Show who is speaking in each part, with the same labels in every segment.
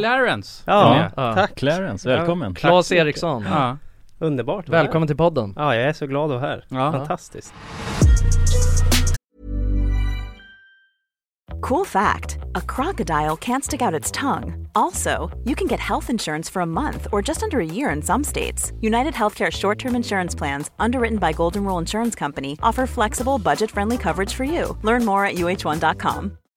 Speaker 1: Clarence!
Speaker 2: Ja,
Speaker 1: är med.
Speaker 3: Ja.
Speaker 2: tack!
Speaker 4: Clarence, välkommen!
Speaker 3: Claes
Speaker 2: så mycket.
Speaker 3: Eriksson.
Speaker 1: Ja.
Speaker 2: Underbart! att vara
Speaker 3: Välkommen till podden.
Speaker 2: här. Ja, jag är så glad att vara här.
Speaker 1: Ja.
Speaker 2: Fantastiskt.
Speaker 5: Cool fact a crocodile can't stick out its tongue. Also, you can get health insurance for a month or just under a year in some states. United Healthcare short term insurance plans, underwritten by Golden Rule Insurance Company, offer flexible, budget friendly coverage for you. Learn more at uh1.com.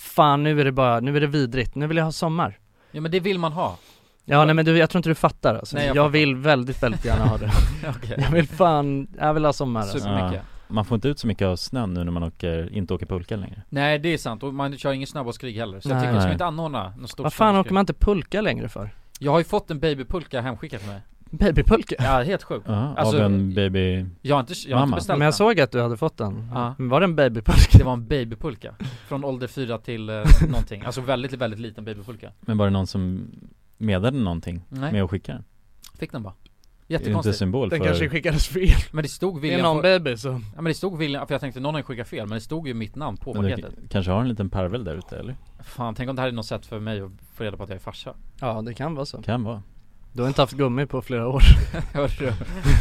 Speaker 3: Fan nu är det bara, nu är det vidrigt, nu vill jag ha sommar
Speaker 1: Ja men det vill man ha
Speaker 3: Ja nej men du, jag tror inte du fattar alltså.
Speaker 1: Nej,
Speaker 3: jag,
Speaker 1: jag fattar.
Speaker 3: vill väldigt, väldigt gärna ha det
Speaker 1: Okej,
Speaker 3: Jag vill fan, jag vill ha sommar alltså.
Speaker 1: supermycket
Speaker 4: Man får inte ut så mycket av snön nu när man åker, inte åker pulka längre
Speaker 1: Nej det är sant, och man kör ingen snabbåtskrig heller Så jag
Speaker 3: Nej.
Speaker 1: tycker liksom
Speaker 4: Nej.
Speaker 1: inte anordna någon stor
Speaker 3: Vad fan åker
Speaker 1: snabbåtskrig.
Speaker 3: man inte pulka längre för?
Speaker 1: Jag har ju fått en babypulka hemskickad till mig
Speaker 3: Babypulka?
Speaker 1: Ja helt sjukt
Speaker 4: Ja,
Speaker 1: Alltså-
Speaker 4: av en baby
Speaker 1: Jag har inte, jag har inte
Speaker 4: Mamma.
Speaker 1: beställt
Speaker 3: Men jag
Speaker 1: den
Speaker 3: såg att du hade fått den.
Speaker 1: Ja.
Speaker 3: Men Var det en babypulka?
Speaker 1: Det var en babypulka Från ålder fyra till eh, någonting Alltså väldigt, väldigt liten babypulka
Speaker 4: Men var det någon som medade någonting
Speaker 1: Nej,
Speaker 4: med att skicka den?
Speaker 1: fick den bara
Speaker 4: Är det inte
Speaker 1: Jättekonstigt
Speaker 4: symbol
Speaker 3: Den
Speaker 4: för...
Speaker 3: kanske skickades fel.
Speaker 1: Men det stod
Speaker 3: Det är
Speaker 1: William
Speaker 3: någon
Speaker 1: på-
Speaker 3: baby som...
Speaker 1: Ja men det stod William, för jag tänkte någon har ju skickat fel Men det stod ju mitt namn på
Speaker 4: Men
Speaker 1: paketet
Speaker 4: du kanske har en liten parvel där ute eller?
Speaker 1: Fan, tänk om det här är något sätt för mig att få reda på att jag är farsa
Speaker 3: Ja, det kan vara så.
Speaker 4: Kan vara
Speaker 3: Du har inte haft gummi på flera år.
Speaker 1: Hörru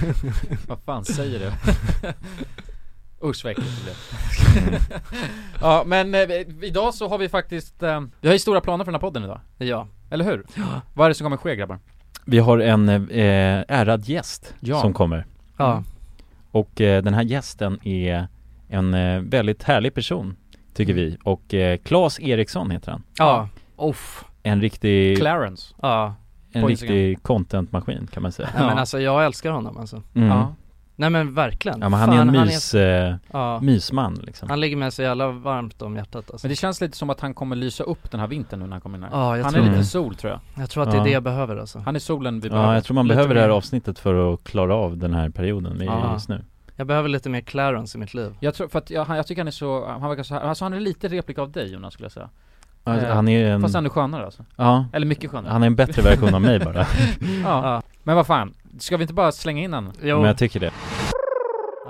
Speaker 1: Vad fan säger du? Usch vad äckligt det blev Ja men eh, vi- idag så har vi faktiskt eh, Vi har ju stora planer för den här podden idag
Speaker 3: Ja.
Speaker 1: Eller hur? Ja. Vad är det som kommer ske grabbar?
Speaker 4: Vi har en eh, ärad gäst
Speaker 1: Ja.
Speaker 4: som kommer Mm.
Speaker 3: Ja.
Speaker 4: Och eh, den här gästen är en eh, väldigt härlig person Tycker vi och eh, Claes Eriksson heter han
Speaker 3: Ja. Uff.
Speaker 4: En riktig,
Speaker 1: Clarence
Speaker 3: Ja.
Speaker 4: en
Speaker 1: på Instagram.
Speaker 4: riktig contentmaskin kan man säga
Speaker 3: Nej, men alltså jag älskar honom alltså.
Speaker 4: mm.
Speaker 1: Ja
Speaker 4: ja.
Speaker 3: Nej men verkligen.
Speaker 4: men han
Speaker 3: Fan,
Speaker 4: är en mys, eh,
Speaker 3: ja.
Speaker 4: mysman liksom
Speaker 3: Han ligger mig så jävla varmt om hjärtat alltså.
Speaker 1: Men det känns lite som att han kommer lysa upp den här vintern nu när han kommer in här
Speaker 3: Ja, jag,
Speaker 1: Han är
Speaker 3: tror,
Speaker 4: Mm.
Speaker 1: lite sol tror jag
Speaker 3: jag tror att det är
Speaker 4: Ja.
Speaker 3: det jag behöver alltså.
Speaker 1: Han är solen vi behöver
Speaker 4: Ja, jag tror man
Speaker 3: Lite
Speaker 4: behöver det här
Speaker 3: mer.
Speaker 4: avsnittet för att klara av den här perioden vi är
Speaker 3: Ja.
Speaker 4: i just nu
Speaker 3: Jag behöver lite mer Clarence i mitt liv.
Speaker 1: Jag tror, för att jag, han- jag tycker han är så, han verkar så här, alltså han är lite replik av dig Jonas skulle jag säga
Speaker 4: Alltså,
Speaker 1: Eh,
Speaker 4: Han är
Speaker 2: Ehm,
Speaker 4: en,
Speaker 1: Fast han är skönare alltså,
Speaker 4: ja,
Speaker 1: eller mycket skönare
Speaker 4: han är en bättre version av mig bara
Speaker 1: ja.
Speaker 3: Ja.
Speaker 1: Men vad fan, ska vi inte bara slänga in han?
Speaker 3: Jo.
Speaker 4: Men jag tycker det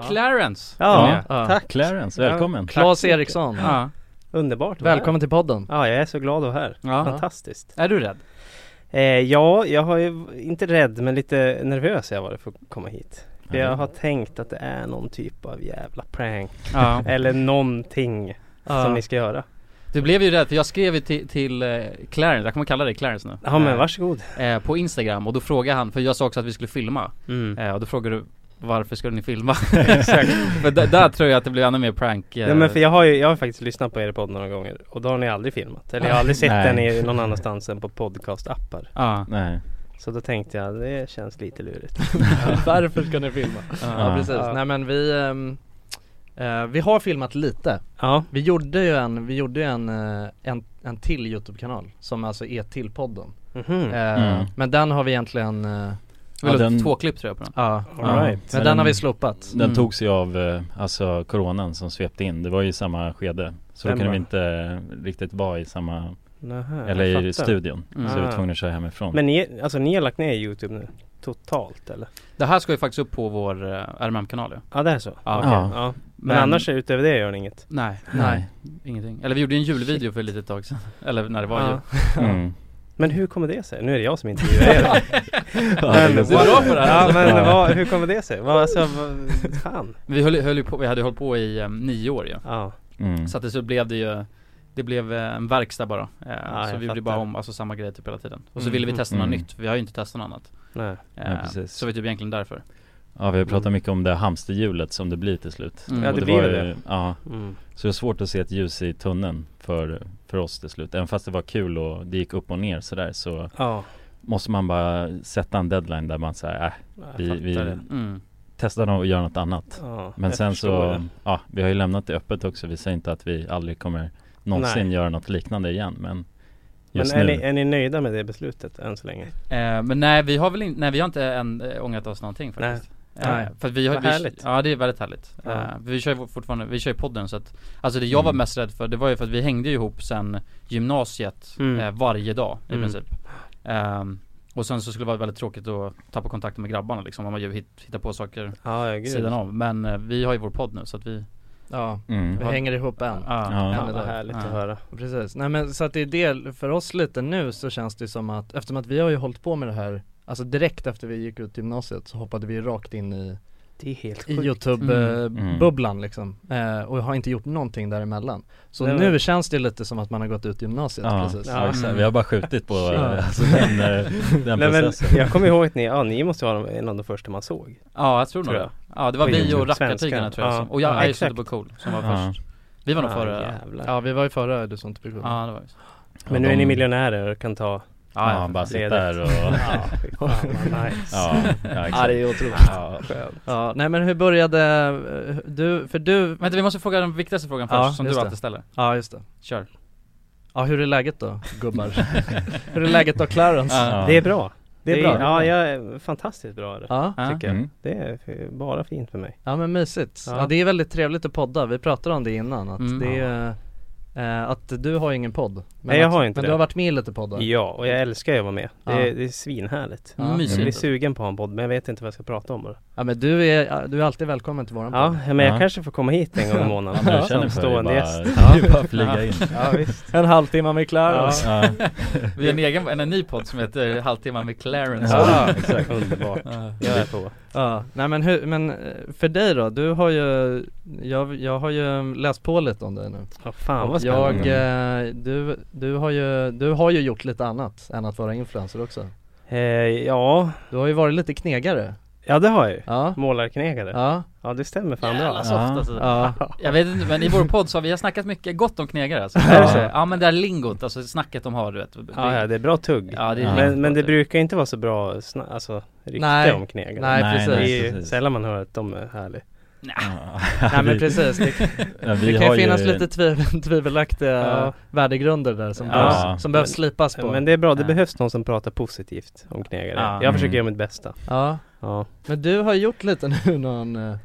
Speaker 1: Clarence!
Speaker 2: Ja,
Speaker 1: Ja.
Speaker 3: Ja.
Speaker 2: tack!
Speaker 4: Clarence, välkommen!
Speaker 3: Claes Eriksson.
Speaker 1: Ja.
Speaker 2: Underbart att vara
Speaker 3: Välkommen till podden.
Speaker 2: här. Ja, jag är så glad att vara här.
Speaker 1: Ja.
Speaker 2: Fantastiskt.
Speaker 1: Är du rädd?
Speaker 2: Eh, ja, jag har ju, inte rädd, men lite nervös har jag varit för att komma hit. För jag har tänkt att det är någon typ av jävla prank.
Speaker 1: Ja
Speaker 2: Eller någonting Eh, som ni ska göra.
Speaker 1: Du blev ju rädd för jag skrev ju till, till eh, Clarence, jag kommer kalla dig Clarence nu
Speaker 2: Ja, men
Speaker 1: Eh,
Speaker 2: varsågod.
Speaker 1: eh, På Instagram och då frågade han, för jag sa också att vi skulle filma
Speaker 2: Mm.
Speaker 1: eh, Och då frågade du varför skulle ni filma? Exakt För där, där tror jag att det blev ännu mer prank eh,
Speaker 2: Nej men för jag har ju, jag har faktiskt lyssnat på er podd några gånger och då har ni aldrig filmat. Eller jag har aldrig sett
Speaker 4: Nej.
Speaker 2: den i någon annanstans än på podcastappar.
Speaker 1: eh, Ja,
Speaker 4: Nej,
Speaker 2: Så då tänkte jag, det känns lite lurigt.
Speaker 3: Varför ska ni filma? Ja,
Speaker 1: ja.
Speaker 4: Ja.
Speaker 3: precis.
Speaker 2: Ja.
Speaker 3: Nej men vi, ehm, eh, vi har filmat lite.
Speaker 2: Ja,
Speaker 3: Vi gjorde ju en, vi gjorde ju en, eh, en, en till Youtube-kanal som alltså är till podden.
Speaker 2: mhm.
Speaker 3: Eh,
Speaker 4: Mm.
Speaker 3: Men den har vi egentligen, eh,
Speaker 1: Det var
Speaker 4: Ja, den-
Speaker 1: två klipp tror jag på den
Speaker 3: ja,
Speaker 2: All right.
Speaker 3: men den har vi slopat.
Speaker 4: Den
Speaker 1: Mm.
Speaker 4: togs ju av, eh, alltså coronan som svepte in, det var ju i samma skede Så då
Speaker 2: Den
Speaker 4: kunde
Speaker 2: bara-
Speaker 4: vi inte eh, riktigt vara i samma,
Speaker 2: Nähä,
Speaker 4: eller
Speaker 2: jag
Speaker 4: i
Speaker 2: fattar.
Speaker 4: studion
Speaker 1: Mm.
Speaker 4: Så vi
Speaker 2: Ah.
Speaker 4: var tvungna att köra hemifrån
Speaker 2: Men ni, alltså ni har lagt ner Youtube nu? Totalt eller?
Speaker 1: Det här ska ju faktiskt upp på vår eh, RMM-kanal ju
Speaker 2: Ja det är så?
Speaker 1: Ja.
Speaker 2: Okej,
Speaker 4: Ja.
Speaker 2: ja. Men,
Speaker 1: Men-
Speaker 2: annars utöver det gör ni inget?
Speaker 1: Nej,
Speaker 4: Nej,
Speaker 1: ingenting Eller vi gjorde ju en julvideo för ett litet tag sedan Eller när det var
Speaker 2: Ja.
Speaker 1: jul
Speaker 4: mm.
Speaker 2: Men hur kommer det sig? Nu är det jag som intervjuar er. Men-
Speaker 1: Du är bra på det här.
Speaker 2: Ja men
Speaker 4: Ja.
Speaker 2: vad, hur kommer det sig? Vad, alltså, vad, fan.
Speaker 1: Vi höll, höll ju på, vi hade ju hållit på i eh, nio år ju
Speaker 2: Ja.
Speaker 4: Mm.
Speaker 1: Så att det så blev det ju Det blev eh, en verkstad bara eh, Så
Speaker 2: jag
Speaker 1: vi gjorde
Speaker 2: fattar.
Speaker 1: bara om, alltså samma grej typ hela tiden Och så
Speaker 2: Mm.
Speaker 1: ville vi testa något
Speaker 4: Mm.
Speaker 1: nytt, för vi har ju inte testat något annat
Speaker 2: Nej.
Speaker 1: eh,
Speaker 4: Ja, precis.
Speaker 1: Så det var typ egentligen därför
Speaker 4: Ja vi har pratat mycket om det hamsterhjulet som det blir till slut
Speaker 1: Mm.
Speaker 2: Ja,
Speaker 4: Och
Speaker 2: det blir
Speaker 4: var
Speaker 2: det.
Speaker 4: ju- Ja,
Speaker 2: Mm.
Speaker 4: så det är svårt att se ett ljus i tunneln för, för oss till slut Även fast det var kul och det gick upp och ner sådär så
Speaker 2: Ja. måste
Speaker 4: måste man bara sätta en deadline där man säger äh,
Speaker 2: Jag
Speaker 4: vi, vi
Speaker 2: fattar det.
Speaker 1: mm.
Speaker 4: testar nog att göra något annat
Speaker 2: Ja,
Speaker 4: Men
Speaker 2: jag
Speaker 4: sen
Speaker 2: förstår
Speaker 4: så,
Speaker 2: det.
Speaker 4: ja vi har ju lämnat det öppet också Vi säger inte att vi aldrig kommer någonsin
Speaker 2: Nej.
Speaker 4: göra något liknande igen men
Speaker 2: Men
Speaker 4: Just
Speaker 2: är
Speaker 4: nu,
Speaker 2: ni, är ni nöjda med det beslutet än så länge?
Speaker 1: eh, Men nej vi har väl in, nej vi har inte än äh, ångrat oss någonting faktiskt Eh,
Speaker 2: Nej.
Speaker 1: För att vi har
Speaker 2: Vad
Speaker 1: vi,
Speaker 2: härligt.
Speaker 1: Ja det är väldigt härligt
Speaker 2: Ja.
Speaker 1: eh, Vi kör ju fortfarande, vi kör ju podden så att Alltså det jag var
Speaker 4: Mm.
Speaker 1: mest rädd för, det var ju för att vi hängde ju ihop sen gymnasiet
Speaker 2: Mm.
Speaker 1: eh, varje dag i
Speaker 2: Mm.
Speaker 1: princip Ehm, Och sen så skulle det vara väldigt tråkigt att tappa kontakten med grabbarna liksom, om man ju hit- hittar på saker
Speaker 2: Ja, ja gud.
Speaker 1: sidan av Men eh, vi har ju vår podd nu så att vi
Speaker 3: Ja,
Speaker 4: mm.
Speaker 3: vi hänger ihop än.
Speaker 1: ja.
Speaker 4: Ja.
Speaker 2: Fan,
Speaker 3: Eller
Speaker 2: vad
Speaker 3: där.
Speaker 2: härligt
Speaker 1: Ja.
Speaker 2: att höra.
Speaker 3: Precis, nej men så att det är det, för oss lite nu så känns det som att eftersom att vi har ju hållit på med det här Alltså direkt efter vi gick ut gymnasiet så hoppade vi rakt in i,
Speaker 2: Det är helt
Speaker 3: i
Speaker 2: sjukt.
Speaker 1: Mm.
Speaker 4: Mm.
Speaker 3: Youtube-bubblan liksom eh, Och har inte gjort någonting däremellan Så
Speaker 2: Nej,
Speaker 3: nu
Speaker 2: men-
Speaker 3: känns det lite som att man har gått ut gymnasiet
Speaker 4: Ja,
Speaker 3: precis
Speaker 4: ja,
Speaker 2: Ja.
Speaker 4: exakt. vi har bara skjutit på
Speaker 3: Ja.
Speaker 4: alltså, den, eh, den
Speaker 2: Nej, men
Speaker 4: processen
Speaker 2: jag kommer ihåg att ni, ja, ni måste vara de- en av de första man såg.
Speaker 1: ja jag tror nog
Speaker 2: Tror
Speaker 1: det
Speaker 2: jag.
Speaker 1: Ja det var
Speaker 2: På
Speaker 1: vi
Speaker 2: YouTube.
Speaker 1: och rackartygarna
Speaker 2: Svenskarna.
Speaker 1: tror jag
Speaker 2: Ja.
Speaker 1: som, och jag
Speaker 2: Ja,
Speaker 1: ja,
Speaker 2: exakt.
Speaker 1: Ice Cool som var
Speaker 4: Ja.
Speaker 1: först Vi var nog
Speaker 2: Ah,
Speaker 1: före
Speaker 2: jävlar.
Speaker 3: Ja vi var ju före Du som inte fick
Speaker 1: Ja det var ju så
Speaker 4: Ja,
Speaker 2: Men nu är
Speaker 4: de-
Speaker 2: ni miljonärer och kan ta
Speaker 4: Ja, han bara sitter där och...
Speaker 2: Ja, fy fan vad nice.
Speaker 4: Ja, ja,
Speaker 6: Ja
Speaker 4: exakt.
Speaker 6: det är otroligt
Speaker 4: Ja.
Speaker 6: skönt
Speaker 3: Ja, nej men hur började, eh, du, för du,
Speaker 1: Vänta vi måste fråga den viktigaste frågan
Speaker 3: Ja,
Speaker 1: först som
Speaker 3: just
Speaker 1: du
Speaker 3: det.
Speaker 1: alltid ställer
Speaker 3: ja just det.
Speaker 1: Kör
Speaker 3: Ja hur är läget då gubbar? hur är läget då Clarence?
Speaker 4: Ja.
Speaker 2: Det är bra. Det är
Speaker 3: Det är-
Speaker 2: bra. Ja, jag är fantastiskt bra är det.
Speaker 3: Ja.
Speaker 1: Ja.
Speaker 2: Tycker jag.
Speaker 4: Mm.
Speaker 2: Det är f- bara fint för mig.
Speaker 3: Ja men mysigt. Ja.
Speaker 2: Ja.
Speaker 3: det är väldigt trevligt att podda, vi pratade om det innan att
Speaker 1: Mm.
Speaker 3: det är, eh, att du har ingen podd. Men
Speaker 2: Nej, jag
Speaker 3: att,
Speaker 2: har inte
Speaker 3: Men
Speaker 2: det.
Speaker 3: du har varit med i lite poddar.
Speaker 2: Ja, och jag älskar ju att vara med. Det
Speaker 3: Ja.
Speaker 2: är, det är svinhärligt.
Speaker 3: Ja.
Speaker 2: Jag blir
Speaker 1: Mysigt
Speaker 2: sugen på en podd men jag vet inte vad jag ska prata om bara.
Speaker 3: Ja men du är, du är alltid välkommen till våran
Speaker 2: Ja,
Speaker 3: podd.
Speaker 2: men jag
Speaker 4: Ja.
Speaker 2: kanske får komma hit en gång i månaden
Speaker 4: Ja, du
Speaker 2: som
Speaker 4: känner för det,
Speaker 2: stående gäst.
Speaker 4: bara, du bara flyga in
Speaker 2: Ja, visst.
Speaker 3: En halvtimme med Clarence.
Speaker 4: ja.
Speaker 1: Vi har en egen, en, en ny podd som heter Halvtimman med Clarence
Speaker 2: Ja, exakt. Underbart. Jag är på.
Speaker 3: Ja, nej men hur, men eh, för dig då? Du har ju, jag, jag har ju läst på lite om dig nu
Speaker 2: Ja, fan vad
Speaker 3: jag,
Speaker 2: spännande.
Speaker 3: eh, du, du har ju, du har ju gjort lite annat än att vara influencer också
Speaker 2: Eh, ja,
Speaker 3: Du har ju varit lite knegare
Speaker 2: ja det har jag ju.
Speaker 3: Ja,
Speaker 2: Målarknegare.
Speaker 3: ja,
Speaker 2: Ja, det stämmer fan bra.
Speaker 4: Ja.
Speaker 2: alltså.
Speaker 3: ja,
Speaker 1: Jag vet inte, men i vår podd så har vi har snackat mycket gott om knegare alltså.
Speaker 2: Är det så?
Speaker 1: Ja men det här lingot, alltså snacket de har du vet
Speaker 2: Ja, ja, det är bra tugg.
Speaker 1: Ja, det är
Speaker 4: Ja.
Speaker 2: Men,
Speaker 1: riktigt
Speaker 2: men det
Speaker 1: bra tugg.
Speaker 2: brukar inte vara så bra sna- alltså, rykte
Speaker 3: Nej.
Speaker 2: om knegare.
Speaker 3: Nej,
Speaker 2: Det
Speaker 3: precis.
Speaker 2: är
Speaker 4: nej,
Speaker 2: ju
Speaker 4: precis.
Speaker 2: sällan man hör att de är härliga.
Speaker 4: Ja.
Speaker 3: nej men
Speaker 4: Vi-
Speaker 3: precis Det,
Speaker 4: Ja, vi
Speaker 3: det kan
Speaker 4: har
Speaker 3: ju finnas lite tvivel, tvivelaktiga
Speaker 2: Ja.
Speaker 3: värdegrunder där som,
Speaker 2: Ja.
Speaker 3: behövs, som behövs
Speaker 2: Men-
Speaker 3: slipas på
Speaker 2: Men det är bra, det
Speaker 1: Ja.
Speaker 2: behövs någon som pratar positivt om knegare.
Speaker 1: Ja.
Speaker 2: Jag försöker
Speaker 4: Mm.
Speaker 2: göra mitt bästa.
Speaker 3: Ja,
Speaker 2: Ja.
Speaker 3: men du har gjort lite nu någon, eh,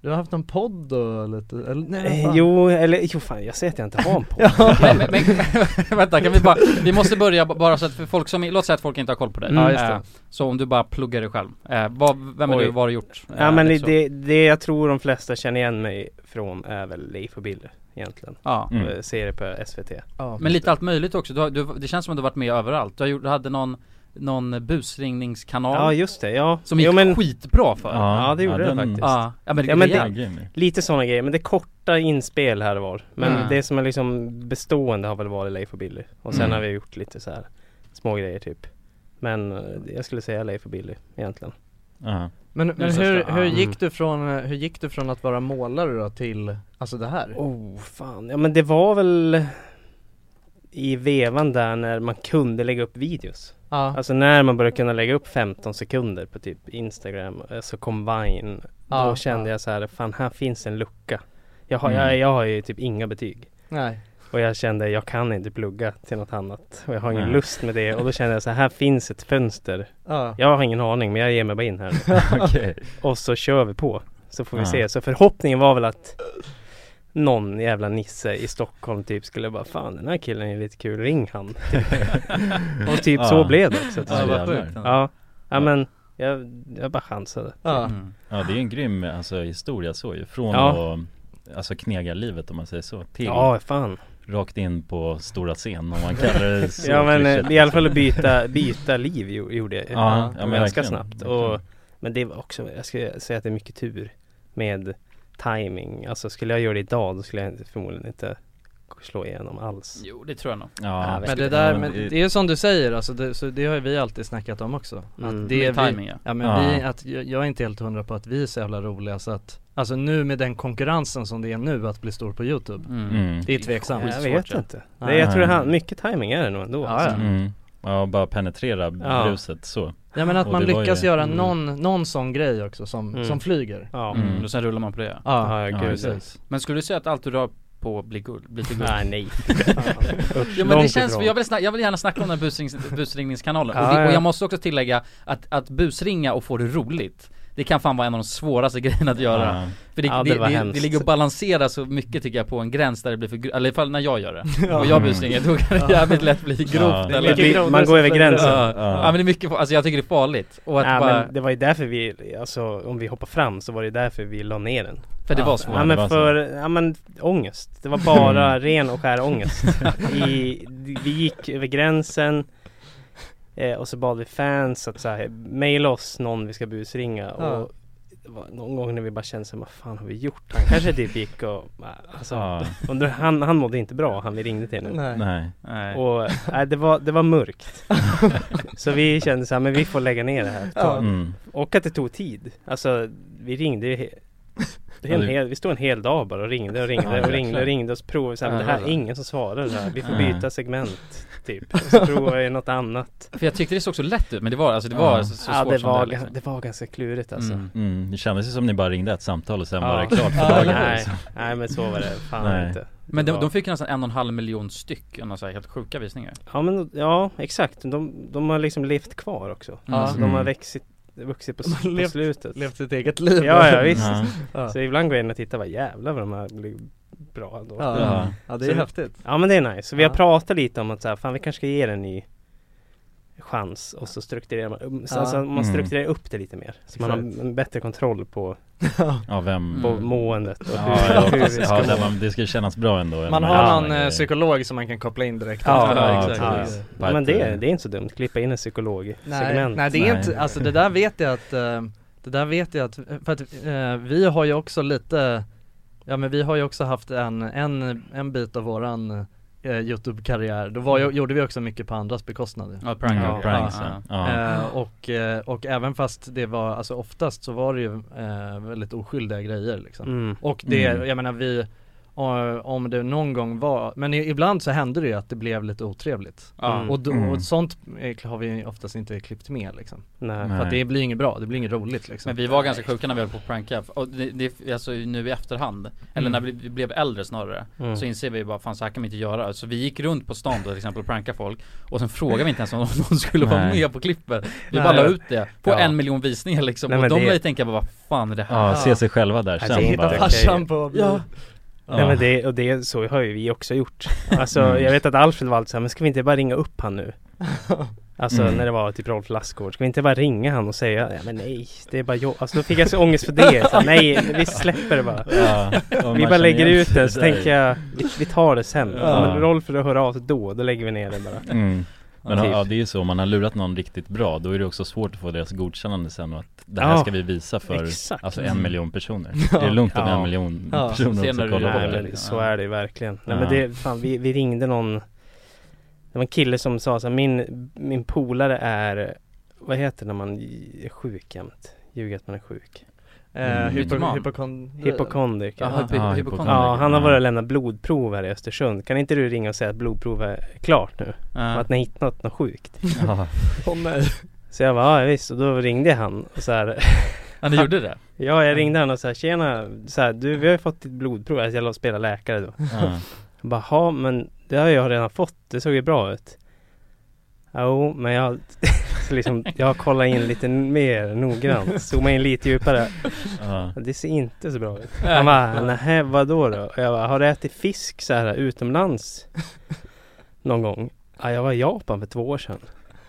Speaker 3: du har haft någon podd och lite, eller nej
Speaker 2: Eh,
Speaker 3: fan.
Speaker 2: jo, eller jo fan, jag säger att jag inte har en podd.
Speaker 1: men, men, men vänta, kan vi bara, vi måste börja b- bara så att för folk som, låt säga att folk inte har koll på dig
Speaker 2: Mm.
Speaker 3: Ja, just det.
Speaker 1: Eh, Så om du bara pluggar dig själv, eh, vad, vem är
Speaker 2: Oj.
Speaker 1: du, vad har du gjort? Eh,
Speaker 2: Ja men
Speaker 1: liksom.
Speaker 2: det, det jag tror de flesta känner igen mig från är väl Leif och Bill egentligen.
Speaker 1: Ja.
Speaker 4: Mm.
Speaker 2: Eh, Ser det på SVT.
Speaker 3: Ja.
Speaker 1: Men lite allt möjligt också, du har, du, det känns som att du har varit med överallt. Du, har gjort, du hade någon, någon busringningskanal
Speaker 2: Ja just det, ja.
Speaker 1: som gick
Speaker 2: jo, men,
Speaker 1: skitbra för
Speaker 2: Ja, det gjorde det faktiskt.
Speaker 1: Ja, ja men,
Speaker 2: Ja, men det-
Speaker 1: rejält.
Speaker 4: det,
Speaker 2: Lite sådana grejer, men det är korta inspel här och var. Men
Speaker 1: Mm.
Speaker 2: det som är liksom bestående har väl varit Leif och Billy. Och sen
Speaker 4: Mm.
Speaker 2: har vi gjort lite så här små grejer typ. Men eh, jag skulle säga Leif och Billy egentligen.
Speaker 4: ja.
Speaker 3: Men, men
Speaker 1: största,
Speaker 3: hur,
Speaker 1: ja.
Speaker 3: hur,
Speaker 2: Mm.
Speaker 3: gick du från, eh, hur gick du från att vara målare då till, alltså det här?
Speaker 2: Oh fan, ja men det var väl i vevan där när man kunde lägga upp videos.
Speaker 3: Ja,
Speaker 2: Alltså när man började kunna lägga upp 15 sekunder på typ Instagram, alltså Combine.
Speaker 3: Ja.
Speaker 2: då kände jag så här, fan här finns en lucka. Jag har,
Speaker 4: Mm.
Speaker 2: jag, jag har ju typ inga betyg.
Speaker 3: nej.
Speaker 2: Och jag kände, jag kan inte plugga till något annat. Och jag har ingen
Speaker 4: Nej.
Speaker 2: lust med det. Och då kände jag så här, här finns ett fönster.
Speaker 3: Ja.
Speaker 2: Jag har ingen aning, men jag ger mig bara in här. nu.
Speaker 4: Okej.
Speaker 2: Och så kör vi på. Så får vi
Speaker 4: Ja.
Speaker 2: se. Så förhoppningen var väl att någon jävla nisse i Stockholm typ skulle bara, fan den här killen är lite kul, ring han. Typ. och typ så
Speaker 4: Ja.
Speaker 2: blev det också.
Speaker 1: Ja,
Speaker 4: Ja,
Speaker 1: vad sjukt.
Speaker 2: Ja, ja
Speaker 4: Ja.
Speaker 2: men jag, jag bara chansade.
Speaker 3: Ja.
Speaker 1: Mm.
Speaker 4: Ja det är en grym alltså, historia så ju, från
Speaker 2: Ja.
Speaker 4: att alltså knegarlivet om man säger så, till
Speaker 2: Ja, fan.
Speaker 4: rakt in på stora scen om man kallar det så
Speaker 2: Ja men eh,
Speaker 4: klyschigt. liksom.
Speaker 2: i alla fall att byta, byta liv gjo- gjorde jag.
Speaker 4: Ja, ja, men
Speaker 2: ganska
Speaker 4: verkligen. Mm.
Speaker 2: snabbt.
Speaker 4: Verkligen.
Speaker 2: Och, men det var också, jag skulle säga att det är mycket tur med timing. Alltså skulle jag göra det idag då skulle jag inte- förmodligen inte slå igenom alls.
Speaker 1: Jo det tror jag nog.
Speaker 4: Ja,
Speaker 3: Men det där, men det är ju som du säger alltså, det, så det har ju vi alltid snackat om också.
Speaker 2: Mm.
Speaker 3: Att det är
Speaker 1: Med
Speaker 3: vi,
Speaker 1: timing, ja.
Speaker 3: ja men
Speaker 4: Ja.
Speaker 3: vi, att jag, jag är inte helt hundra på att vi är så jävla roliga så att, alltså nu med den konkurrensen som det är nu att bli stor på youtube,
Speaker 4: Mm.
Speaker 3: det är tveksamt.
Speaker 1: skitsvårt,
Speaker 2: Jag vet
Speaker 1: ja.
Speaker 2: inte.
Speaker 3: Nej.
Speaker 2: Det, jag tror det han, mycket timing är det nog ändå.
Speaker 3: Ja,
Speaker 2: alltså.
Speaker 3: ja.
Speaker 4: Mm. Ja, bara penetrera
Speaker 2: Ja.
Speaker 4: bruset så
Speaker 3: Ja men att
Speaker 4: Och
Speaker 3: man
Speaker 4: det var
Speaker 3: lyckas
Speaker 4: ju-
Speaker 3: göra
Speaker 2: Mm.
Speaker 3: någon, någon sån grej också som,
Speaker 2: Mm.
Speaker 3: som flyger.
Speaker 2: ja.
Speaker 4: Mm.
Speaker 1: Och sen rullar man på det ja.
Speaker 3: Ja,
Speaker 2: Ja, ja,
Speaker 4: Ja,
Speaker 2: gud.
Speaker 3: precis.
Speaker 1: Men skulle du säga att allt du rör på blir guld, blir till guld?
Speaker 2: Nej, nej.
Speaker 1: Ja men det känns, jag vill, snack, jag vill gärna snacka om den här busrings, busringningskanalen
Speaker 2: Ja,
Speaker 1: och, det, och
Speaker 2: ja.
Speaker 1: jag måste också tillägga att, att busringa och få det roligt Det kan fan vara en av de svåraste grejerna att göra
Speaker 4: Ja.
Speaker 1: För det,
Speaker 2: Ja, det
Speaker 1: det,
Speaker 2: var
Speaker 1: det, det,
Speaker 2: hemskt.
Speaker 1: ligger och balanserar så mycket tycker jag på en gräns där det blir för grovt, eller i alla fall när jag gör det Och jag busringer då kan det jävligt lätt bli grovt
Speaker 4: Ja.
Speaker 1: eller
Speaker 2: Det blir- man går över gränsen.
Speaker 1: Ja.
Speaker 4: Ja.
Speaker 1: ja men det är mycket, alltså jag tycker det är farligt och att
Speaker 2: Ja,
Speaker 1: bara,
Speaker 2: men det var ju därför vi, alltså om vi hoppar fram så var det därför vi la ner den.
Speaker 1: för det
Speaker 2: ja.
Speaker 1: var svårt
Speaker 2: Ja
Speaker 4: det var
Speaker 2: men
Speaker 4: så.
Speaker 2: för, ja men ångest. Det var bara ren och skär ångest. I, vi gick över gränsen eh, och så bad vi fans att så här, mejla oss någon vi ska busringa
Speaker 3: Ja.
Speaker 2: och det var någon gång när vi bara kände så här, vad fan har vi gjort? Han kanske typ gick och, alltså,
Speaker 4: Ja.
Speaker 2: undrar, han, han mådde inte bra han vi ringde till nu.
Speaker 3: Nej.
Speaker 4: Nej
Speaker 1: Nej.
Speaker 2: Och nej, det, var, det var mörkt. så vi kände så här, men vi får lägga ner det här.
Speaker 3: Ja.
Speaker 4: mm.
Speaker 2: Och att det tog tid. Alltså vi ringde ju he- Det är en hel, vi stod en hel dag bara och ringde och ringde
Speaker 1: Ja,
Speaker 2: och ringde och ringde och så provade vi så här, men det här
Speaker 1: Ja,
Speaker 2: är
Speaker 1: ja.
Speaker 2: ingen som svarar det här. Vi får
Speaker 4: Nej.
Speaker 2: byta segment typ. Och så provade vi något annat.
Speaker 1: För jag tyckte det såg så lätt ut, men det var alltså, det var
Speaker 4: Ja.
Speaker 1: så, så
Speaker 2: Ja
Speaker 1: svårt
Speaker 2: det
Speaker 1: som
Speaker 2: var,
Speaker 1: det, är, liksom.
Speaker 2: det var ganska klurigt alltså.
Speaker 1: Mm.
Speaker 4: Mm, det kändes ju som ni bara ringde ett samtal och sen
Speaker 2: Ja.
Speaker 4: var det klart för
Speaker 1: Ja,
Speaker 4: dagen
Speaker 2: nej,
Speaker 4: liksom.
Speaker 2: nej men så var det fan
Speaker 4: Nej.
Speaker 2: inte.
Speaker 1: Men de,
Speaker 2: var-
Speaker 1: de fick ju nästan en och en halv miljon styck, och några så här helt sjuka visningar
Speaker 2: Ja men ja exakt. De, de har liksom levt kvar också.
Speaker 1: Ja.
Speaker 2: Alltså, de har
Speaker 4: Mm.
Speaker 2: växit, vuxit på,
Speaker 6: De har
Speaker 2: på
Speaker 6: levt-
Speaker 2: slutet.
Speaker 6: Levt sitt eget liv
Speaker 2: Ja, ja visst.
Speaker 4: Ja.
Speaker 6: Ja.
Speaker 2: Så ibland går jag in och tittar, vad jävlar vad de här blir bra ändå.
Speaker 6: Ja.
Speaker 2: Ja.
Speaker 4: Ja.
Speaker 6: Ja det är
Speaker 2: Så-
Speaker 6: häftigt
Speaker 2: men det är nice. Så vi har
Speaker 6: Ja.
Speaker 2: pratat lite om att så här, fan vi kanske ska ge det en ny chans och så strukturerar man, um, så
Speaker 6: Ja.
Speaker 2: alltså, man
Speaker 4: Mm.
Speaker 2: strukturerar upp det lite mer. Så man har
Speaker 6: Exakt.
Speaker 2: en bättre kontroll på,
Speaker 4: Ja, vem?
Speaker 2: på
Speaker 1: Mm.
Speaker 2: måendet och
Speaker 4: Ja,
Speaker 2: hur,
Speaker 4: jag
Speaker 2: hur
Speaker 4: hoppas,
Speaker 2: vi ska
Speaker 4: ja
Speaker 2: må.
Speaker 4: där man, det ska kännas bra ändå
Speaker 6: Man
Speaker 4: Ja,
Speaker 6: har
Speaker 4: ja,
Speaker 6: någon
Speaker 4: ja,
Speaker 6: eh,
Speaker 4: ja.
Speaker 6: psykolog som man kan koppla in direkt
Speaker 2: Ja,
Speaker 6: efter.
Speaker 4: ja,
Speaker 6: exakt.
Speaker 4: precis.
Speaker 2: Ja, men det,
Speaker 4: Mm.
Speaker 2: det är inte så dumt, klippa in en psykologsegment.
Speaker 6: Nej, nej det är
Speaker 4: eh, Nej.
Speaker 6: inte, alltså det där vet jag att, eh, det där vet jag att, för att eh, vi har ju också lite, ja men vi har ju också haft en, en, en bit av våran eh, Youtube-karriär, då var,
Speaker 4: Mm.
Speaker 6: ju- gjorde vi också mycket på andras bekostnad ju.
Speaker 1: Ja, prank
Speaker 4: Ja, pranks, ja. Ja.
Speaker 6: Eh, och, eh, och även fast det var, alltså oftast så var det ju eh, väldigt oskyldiga grejer liksom.
Speaker 2: Mm.
Speaker 6: Och det,
Speaker 4: Mm.
Speaker 6: jag menar vi, eh, om det någon gång var, men i- ibland så hände det ju att det blev lite otrevligt.
Speaker 1: Ja.
Speaker 6: Och, då,
Speaker 4: Mm.
Speaker 6: och sånt eh, har vi ju oftast inte klippt med liksom.
Speaker 2: Nej.
Speaker 4: Nej.
Speaker 6: För att det blir inget bra, det blir inget roligt liksom.
Speaker 1: Men vi var ganska sjuka när vi höll på att pranka, och det, det, alltså nu i efterhand, eller när vi, vi blev äldre snarare,
Speaker 2: Mm.
Speaker 1: så inser vi bara fan så här kan vi inte göra. Så vi gick runt på stan då, till exempel och prankade folk, och sen frågade vi inte ens om någon skulle vara
Speaker 4: Nej.
Speaker 1: med på klippet. Vi
Speaker 6: Nej.
Speaker 1: bara la ut det, på
Speaker 4: Ja.
Speaker 1: en miljon visningar liksom,
Speaker 2: Nej,
Speaker 1: och
Speaker 2: men
Speaker 1: de
Speaker 2: det-
Speaker 1: lär ju tänka bara vad fan är det här?
Speaker 4: ja, se sig själva där
Speaker 2: Ja,
Speaker 4: sen
Speaker 2: det är
Speaker 4: bara.
Speaker 2: helt
Speaker 6: Hitta farsan på
Speaker 1: Ja.
Speaker 2: Nej men
Speaker 4: Ja.
Speaker 2: det, och det, så har ju vi också gjort Alltså
Speaker 4: Mm.
Speaker 2: jag vet att Alfred var alltid så här, men ska vi inte bara ringa upp han nu? Alltså
Speaker 4: Mm.
Speaker 2: när det var typ Rolf Lassgård, ska vi inte bara ringa han och säga, ja men nej, det är bara jag Alltså då fick jag så ångest för det, så, här, nej vi släpper det bara
Speaker 4: Ja, och
Speaker 2: Vi
Speaker 4: man
Speaker 2: bara
Speaker 4: känner
Speaker 2: lägger
Speaker 4: igen
Speaker 2: ut
Speaker 4: sig
Speaker 2: det, så
Speaker 4: där.
Speaker 2: tänker jag, vi, vi tar det sen
Speaker 4: Ja.
Speaker 2: Men Rolf får höra av sig då, då lägger vi ner det bara
Speaker 4: Mm. Men
Speaker 2: Ja, typ.
Speaker 4: ja, det är ju så, om man har lurat någon riktigt bra då är det också svårt att få deras godkännande sen och att det här
Speaker 2: Ja.
Speaker 4: ska vi visa för
Speaker 2: Exakt.
Speaker 4: alltså en miljon personer. Det är lugnt om
Speaker 2: Ja.
Speaker 4: en miljon
Speaker 6: Ja.
Speaker 4: personer också
Speaker 1: Senare
Speaker 4: kollar
Speaker 1: är
Speaker 2: Nej
Speaker 4: på
Speaker 1: det.
Speaker 4: det.
Speaker 2: men så är det ju verkligen. Nej
Speaker 4: Ja.
Speaker 2: men det, fan vi, vi ringde någon Det var en kille som sa så här, min, min polare är Vad heter det när man är sjuk jämt? Ljuger att man är sjuk?
Speaker 6: Eh,
Speaker 4: Mm.
Speaker 6: hypo,
Speaker 1: Mytoman.
Speaker 6: hypokon...
Speaker 2: Hypokondrik ja.
Speaker 1: Ja,
Speaker 4: Ja,
Speaker 1: hypo- hypokondri.
Speaker 2: ja, han har
Speaker 4: Ja.
Speaker 2: varit och lämnat blodprov här i Östersund. Kan inte du ringa och säga att blodprovet är klart nu?
Speaker 1: Ja.
Speaker 2: Att ni har hittat något sjukt?
Speaker 4: Ja.
Speaker 6: Åh nej.
Speaker 2: Så jag bara, ja visst. Och då ringde jag han och så här,
Speaker 1: Ja, ni gjorde det?
Speaker 2: Ja, jag ringde han och så här, tjena, så här, du vi har ju fått ditt blodprov. Alltså, jag la och spela läkare då.
Speaker 4: Ja.
Speaker 2: Jag bara, "Ja, men det har jag redan fått. Det såg ju bra ut. Jo, men jag, så liksom, jag kollar in lite mer noggrant. Zoomar in lite djupare.
Speaker 4: Ja.
Speaker 2: Det ser inte så bra ut. Han bara, nähä, vadå då? Och jag bara, har du ätit fisk så här utomlands någon gång? Ja, jag var i Japan för två år sedan.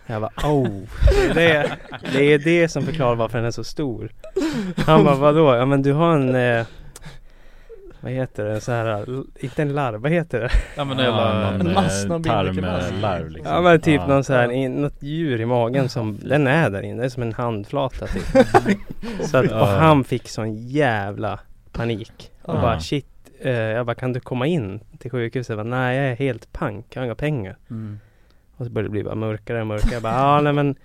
Speaker 2: Jag bara, oh, det är det, det är det som förklarar varför den är så stor. Han bara, vadå? Ja men du har en, eh, vad heter det, så här, l- inte en larv, vad heter det?
Speaker 1: Ja men
Speaker 4: Ja,
Speaker 1: jävla
Speaker 4: någon
Speaker 6: En mass,
Speaker 4: eh,
Speaker 6: någon bilderkulas.
Speaker 4: tarmlarv liksom.
Speaker 2: Ja men typ någon så här, i- något djur i magen som, den är där inne, det är som en handflata typ. så att, och han fick sån jävla panik. Och
Speaker 4: Ja.
Speaker 2: bara shit, eh, jag bara kan du komma in till sjukhuset? Jag bara, nej jag är helt pank, jag har inga pengar.
Speaker 1: Mm.
Speaker 2: Och så började det bli bara mörkare och mörkare. Jag bara, ja nej men,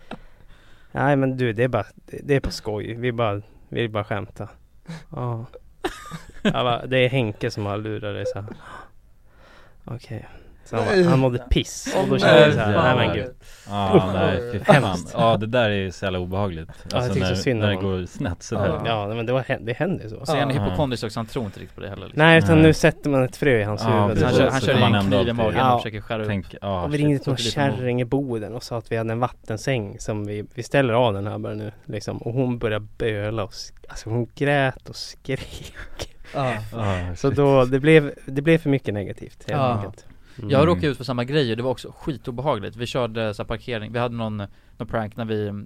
Speaker 2: nej men du det är bara, det, det är på skoj, vi bara, vi vill bara skämta. Ja. Jag bara, det är Henke som har lurat dig så här. Okej. Så han, bara, han mådde piss och då kände jag så här, nej men gud.
Speaker 4: Ja, nej fy fan.
Speaker 2: Hemskt.
Speaker 4: Ja, det där är ju så jävla obehagligt.
Speaker 2: jag
Speaker 4: Alltså
Speaker 2: tycker så
Speaker 4: när,
Speaker 2: synd
Speaker 4: när
Speaker 2: om
Speaker 4: det
Speaker 2: honom.
Speaker 4: går snett sådär.
Speaker 2: Ja, nej, men det, var, hä- det hände ju så.
Speaker 1: Så är han
Speaker 6: Ja.
Speaker 1: hypokondrisk också, han tror inte riktigt på det heller liksom.
Speaker 2: Nej, utan
Speaker 4: Nej.
Speaker 2: nu sätter man ett frö i hans
Speaker 4: Ja,
Speaker 2: huvud.
Speaker 4: precis.
Speaker 1: Han kör, han
Speaker 4: Så
Speaker 1: kör
Speaker 4: kan man
Speaker 1: en
Speaker 4: ändå
Speaker 1: kniv i
Speaker 4: alltid-
Speaker 1: magen
Speaker 2: Ja.
Speaker 1: och försöker skära upp
Speaker 4: Tänk, ja.
Speaker 2: och vi ringde till någon
Speaker 1: så blir det
Speaker 2: kärring i Boden och sa att vi hade en vattensäng som vi, vi ställer av den här bara nu liksom. Och hon började böla och sk- alltså hon grät och skrek.
Speaker 6: Ja.
Speaker 4: Ja,
Speaker 2: Så då, det blev, det blev för mycket negativt helt
Speaker 6: Ja.
Speaker 2: enkelt. Mm.
Speaker 1: Jag råkade ut för samma grej och det var också skitobehagligt. Vi körde så här parkering, vi hade någon, någon prank när vi,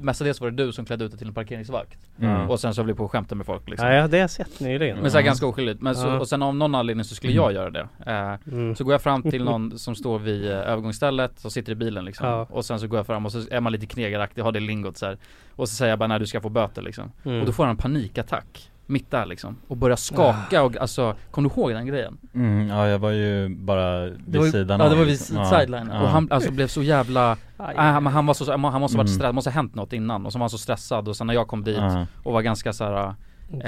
Speaker 1: mestadels var det du som klädde ut dig till en parkeringsvakt.
Speaker 4: Mm.
Speaker 1: Och sen så blev vi på och skämtade med folk liksom.
Speaker 2: Ja, ja, det har jag sett nyligen.
Speaker 1: Men så här ganska oskyldigt, men så,
Speaker 2: Mm. Ja.
Speaker 1: och sen av någon anledning så skulle jag göra det. Eh,
Speaker 2: Mm.
Speaker 1: så går jag fram till någon som står vid eh, övergångsstället och sitter i bilen liksom.
Speaker 2: Ja.
Speaker 1: Och sen så går jag fram och så är man lite knegaraktig, har det lingot så här. Och så säger jag bara när du ska få böter liksom.
Speaker 2: Mm.
Speaker 1: Och då får han en panikattack, mitt där liksom. Och börjar skaka och alltså, kommer du ihåg den grejen?
Speaker 4: Mm, ja jag var ju bara
Speaker 1: Det var
Speaker 4: vid
Speaker 1: ju-
Speaker 4: sidan
Speaker 1: Ja
Speaker 4: av
Speaker 1: det var vid
Speaker 4: liksom.
Speaker 1: ja.
Speaker 4: Ja,
Speaker 1: sideline
Speaker 4: ja.
Speaker 1: och han alltså blev så jävla,
Speaker 2: Aj.
Speaker 1: äh, men han var så, han måste ha varit
Speaker 4: Mm.
Speaker 1: stressad, måste ha hänt något innan och så var han så stressad och sen när jag kom dit
Speaker 4: Ja.
Speaker 1: och var ganska så här äh,